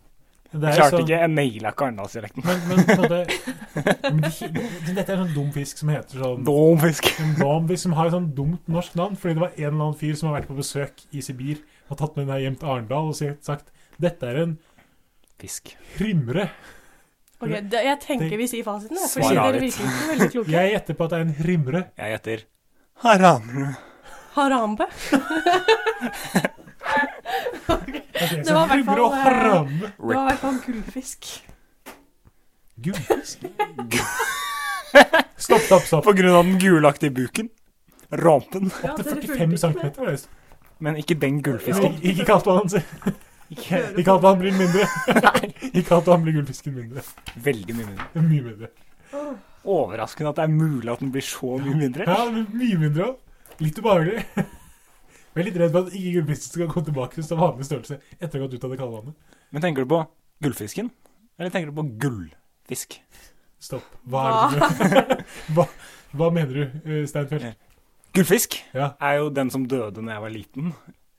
Det
Jeg
er
klarte
sånn,
ikke. Jeg naila ikke arendalsdialekten.
men, men, på en måte- men de, Dette er sånn dum fisk som heter sånn
Dum fisk.
en Bambi som har et sånn dumt norsk navn, fordi det var en eller annen fyr som har vært på besøk i Sibir og tatt med den her hjem til Arendal og sier- sagt dette er en
Fisk.
hrymre.
Ok, det, jeg tenker vi sier fasiten, jeg, fordi
Svar
dere
avgitt.
virker ikke veldig kloke.
Jeg gjetter på at det er en hrymre.
Jeg gjetter haramru.
Harambe.
Okay,
Det var i hvert fall,
og
eh,
harambe.
Det var i hvert fall gullfisk.
Gullfisk. Stopp, stopp, stopp.
På grunn av den gulaktige buken. Rampen.
Ja,
Det
dere
er
fulgte
45
ikke
cm.
med.
var det.
Men ikke den gullfisken.
Ikke, ikke kast på han si. Ikke at han blir mindre. Ikke at han blir gullfisken mindre.
Veldig mye mindre.
Mye mindre.
Overraskende at det er mulig at den blir så mye mindre.
Ja, men mye mindre òg. Litt ubehagelig. Jeg er litt redd for at ikke gullfisken skal komme tilbake til vanlig størrelse etter å ha gått ut av det kalde vannet.
Men tenker du på gullfisken, eller tenker du på gullfisk?
Stopp. Hva er det du hva, hva mener du, eh, Steinfeld?
Gullfisk
Ja.
er jo den som døde når jeg var liten,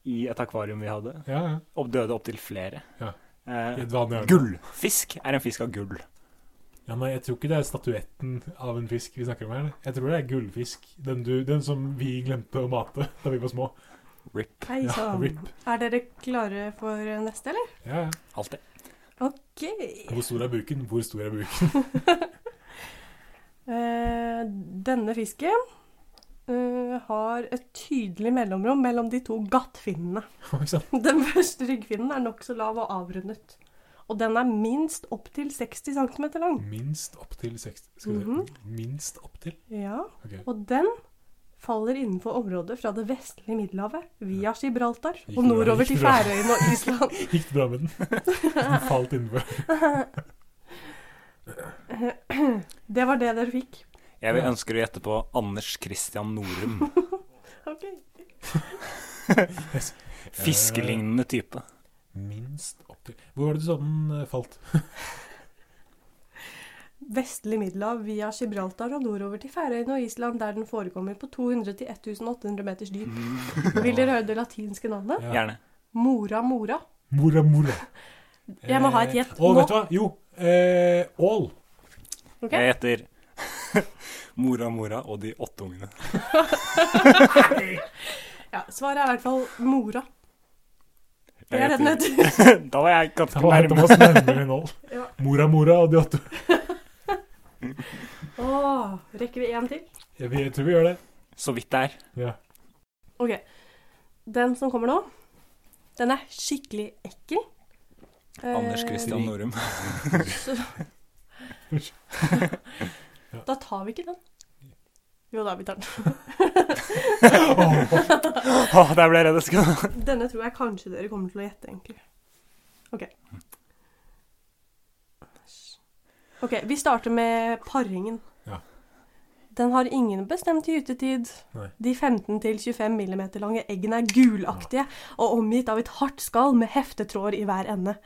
i et akvarium vi hadde.
Ja, ja.
Og døde opptil flere.
Ja.
Eh,
I et vanlig øyne.
gullfisk er en fisk av gull.
Ja, nei, jeg tror ikke det er statuetten av en fisk vi snakker om her. Jeg tror det er gullfisk. Den, du, den som vi glemte å mate da vi var små.
Rip.
Hei
Ja,
sann.
rip.
Er dere klare for neste, eller?
Ja, ja.
Alltid.
OK.
Hvor stor er buken? Hvor stor er buken?
Eh, denne fisken eh, har et tydelig mellomrom mellom de to gattfinnene.
Ikke sant?
Den første ryggfinnen er nokså lav og avrundet. Og den er minst opptil 60 cm lang.
Minst opptil 60 Skal vi se. Minst opptil?
Ja,
Ok.
Og den faller innenfor området fra det vestlige Middelhavet via Gibraltar
Gikk
og
bra,
nordover
gikk
til
bra.
Færøyene og Island.
Gikk det bra med den? Den falt innenfor.
Det var det dere fikk.
Jeg vil ønsker å gjette på Anders Christian Norum.
Ok.
Fiskelignende type.
Minst opptil Hvor var det du sa den eh, falt?
Vestlig Middelhav via Gibraltar og nordover til Færøyene og Island, der den forekommer på 200-1800 meters dyp.
Mm.
Vil dere høre det latinske navnet?
Ja.
Gjerne.
Mora mora.
Mora, mora.
Jeg må ha et gjett
Eh, Å,
nå.
vet du hva? Jo. Eh, ål.
Ok?
Jeg gjetter Mora, mora og de åtte ungene.
Ja, svaret er i hvert fall mora. Det
Jeg
er den
gjetter-
heter.
Da var jeg
Det
ganske
var
nærme.
Thomas nærmere enn ål.
Ja.
Mora, mora og de åtte
Åh, rekker vi en til?
Jeg, vet- jeg tror vi gjør det.
Så vidt det er.
Ja.
Ok. Den som kommer nå, den er skikkelig ekkel.
Anders
Eh,
Christian Norum.
Da tar vi ikke den. Jo da, vi tar den.
Åh, der ble jeg redd. jeg skulle-
Denne tror jeg kanskje dere kommer til å gjette, egentlig. Ok. Ok, vi starter med paringen.
Ja.
Den har ingen bestemt gytetid.
Nei.
De 15-25 mm lange eggene er gulaktige og omgitt av et hardt skall med heftetråder i hver ende.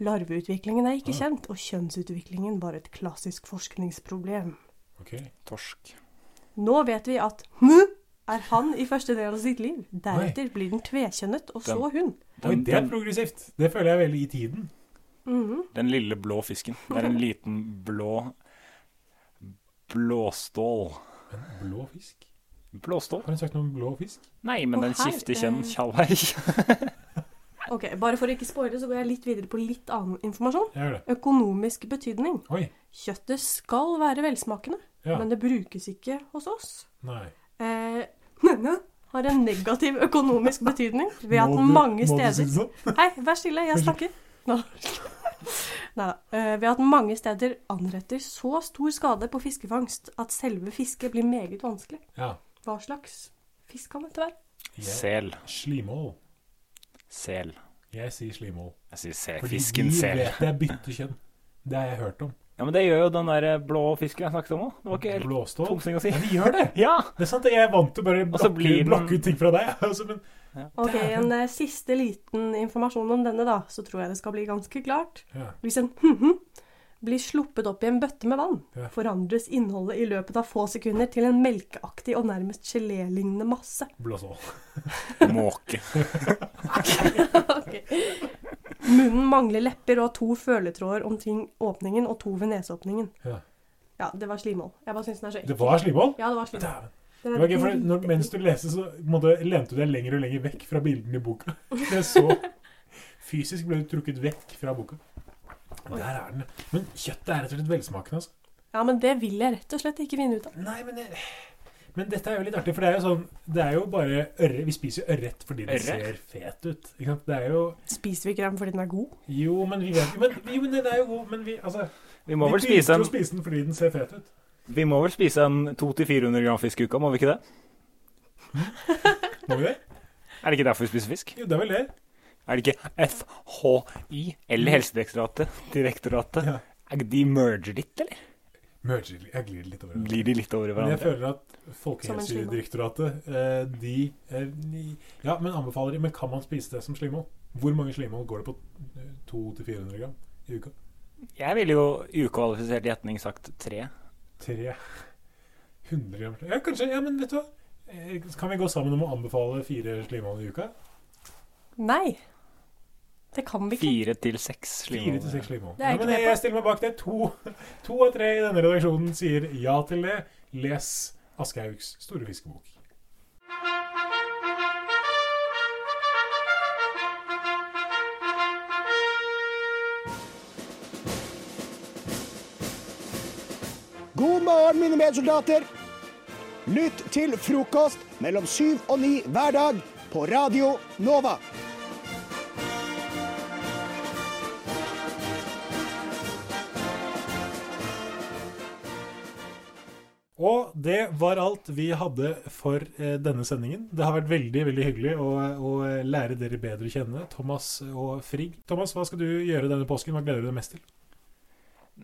Larveutviklingen er ikke kjent, og kjønnsutviklingen var et klassisk forskningsproblem.
Ok.
Torsk.
Nå vet vi at hm er han i første del av sitt liv. Deretter blir den tvekjønnet, og så hun.
Oi,
Den,
det er
den,
progressivt. Det føler jeg er veldig i tiden.
den lille blå fisken. Det er en liten blå blåstål.
Blå fisk.
Blåstål?
Har hun sagt noe om blå fisk?
Nei, men
Og
den
her,
skifter
eh,
kjønn tjalvei.
Ok, Bare for å ikke spoile, så går jeg litt videre på litt annen informasjon.
Jeg gjør det.
Økonomisk betydning.
Oi.
Kjøttet skal være velsmakende,
Ja.
men det brukes ikke hos oss.
Nei.
Eh, denne har en negativ økonomisk betydning ved at
Må du-
mange
Må du si det
steder
sånn?
Hei, vær stille, jeg snakker. Nå. Neida. Eh, Ved at mange steder anretter så stor skade på fiskefangst at selve fisket blir meget vanskelig.
Ja.
Hva slags fisk kan dette være?
Jeg,
Sel.
slimål.
Sel.
Jeg sier slimål.
Jeg sier sel.
Fordi
Fisken
vi
sel.
vet det er byttekjønn. Det har jeg hørt om.
Ja, men det gjør jo den der eh, blå fisken jeg snakket om òg. Det var ikke helt
Blåstål.
tungsing å si.
Ja, de gjør det!
Ja!
Det er sant, jeg er vant til å bare
Og så
blokke,
blir den-
blokke ut ting fra deg. Altså, men
Ok, En eh, siste liten informasjon om denne, da, så tror jeg det skal bli ganske klart.
Ja.
Hvis en mhm blir sluppet opp i en bøtte med vann,
Ja.
forandres innholdet i løpet av få sekunder til en melkeaktig og nærmest gelélignende masse.
blåstål.
Måke.
Ok. Munnen mangler lepper og har to føletråder omkring åpningen og to ved neseåpningen.
Ja.
Ja, det var slimål. Jeg bare syns den er så ekkel.
Det var slimål?
Ja, det var slimål.
Dæven.
Den
Det
er
var gøy, for når,
dritekkel.
mens du leste, så på en måte, lente du deg lenger og lenger vekk fra bildene i boka. Jeg så Fysisk ble du trukket vekk fra boka. Der er den. Men kjøttet er rett og slett velsmakende. altså.
Ja, men det vil jeg rett og slett ikke finne ut av.
Nei, men, det- men dette er jo litt artig, for det er jo sånn Det er jo bare ørre Vi spiser jo ørret fordi den
Ørret?
ser fet ut. Ikke sant? Det er jo
Spiser vi ikke den fordi den er god?
Jo, men vi vet jo Men, jo, men den er jo god, men vi Altså
Vi må
Vi
vel spise
begynte
en,
å spise den fordi den ser fet ut.
vi må vel spise en 200-400 gram fisk i uka, må vi ikke det?
Må vi det?
Er det ikke derfor vi spiser fisk?
Jo, det er vel det.
Er det ikke FHI eller Helsedirektoratet direktoratet?
Mm. Ja.
Er de merger litt, eller?
Merger, jeg glir litt over. det.
Blir de litt over i
Mm. Men jeg
hverandre?
føler at Folkehelsedirektoratet eh, De eh, ni- Ja, men anbefaler de Men kan man spise det som slimål? Hvor mange slimål går det på eh, 200-400 gram i uka?
Jeg ville jo i ukvalifisert gjetning sagt tre.
300 gram slimål. Ja, kanskje. Ja, men vet du hva? Eh, Kan vi gå sammen om å anbefale fire slimål i uka?
Nei. Det kan vi ikke.
Fire til seks
Fire til
slimål.
seks slimål. Ja,
Det er jeg ikke
men
med
jeg,
på.
jeg stiller meg bak det. To, to av tre i denne redaksjonen sier ja til det. Les Aschehougs store fiskebok.
God morgen, mine medsoldater. Lytt til frokost mellom syv og ni hver dag på Radio Nova.
Og det var alt vi hadde for eh, denne sendingen. Det har vært veldig veldig hyggelig å, å lære dere bedre å kjenne. Thomas og Frigg. Thomas, hva skal du gjøre denne påsken? Hva gleder du deg mest til?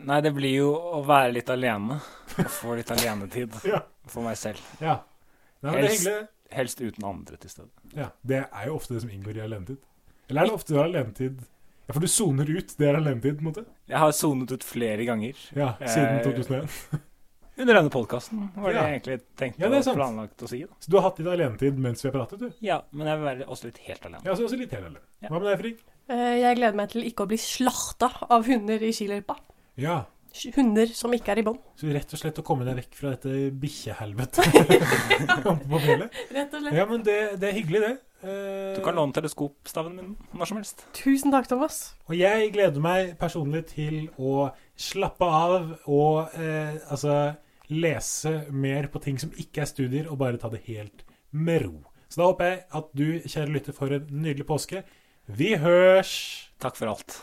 Nei, det blir jo å være litt alene. Å få litt alenetid
Ja.
for meg selv.
ja. Nei, men det er
Helst-
hyggelig.
Helst uten andre til stede.
Ja, Det er jo ofte det som inngår i alenetid. Eller er det ofte alenetid Ja, for du soner ut. Det er alenetid, på en måte.
Jeg har sonet ut flere ganger.
Ja, siden
Eh,
2001.
Under denne podkasten, var det
Ja.
jeg egentlig tenkte
Ja, det er
og
sant.
planlagt å si. da.
Så du har hatt litt alenetid mens vi har pratet, du?
Ja, men jeg vil være også litt helt alene.
Ja, så også litt helt alene.
Ja.
Hva med deg, Frigg?
Eh, Jeg gleder meg til ikke å bli slakta av hunder i skiløypa.
Ja,
Hunder som ikke er i bånd.
så rett og slett å komme deg vekk fra dette bikkjehelvetet oppe på fjellet.
Rett og slett.
Ja, men det, det er hyggelig, det. Eh,
Du kan låne teleskopstaven min når som helst.
Tusen takk, Thomas.
Og jeg gleder meg personlig til å slappe av og eh, altså lese mer på ting som ikke er studier, og bare ta det helt med ro. Så da håper jeg at du, kjære lytter, får en nydelig påske. Vi hørs!
Takk for alt.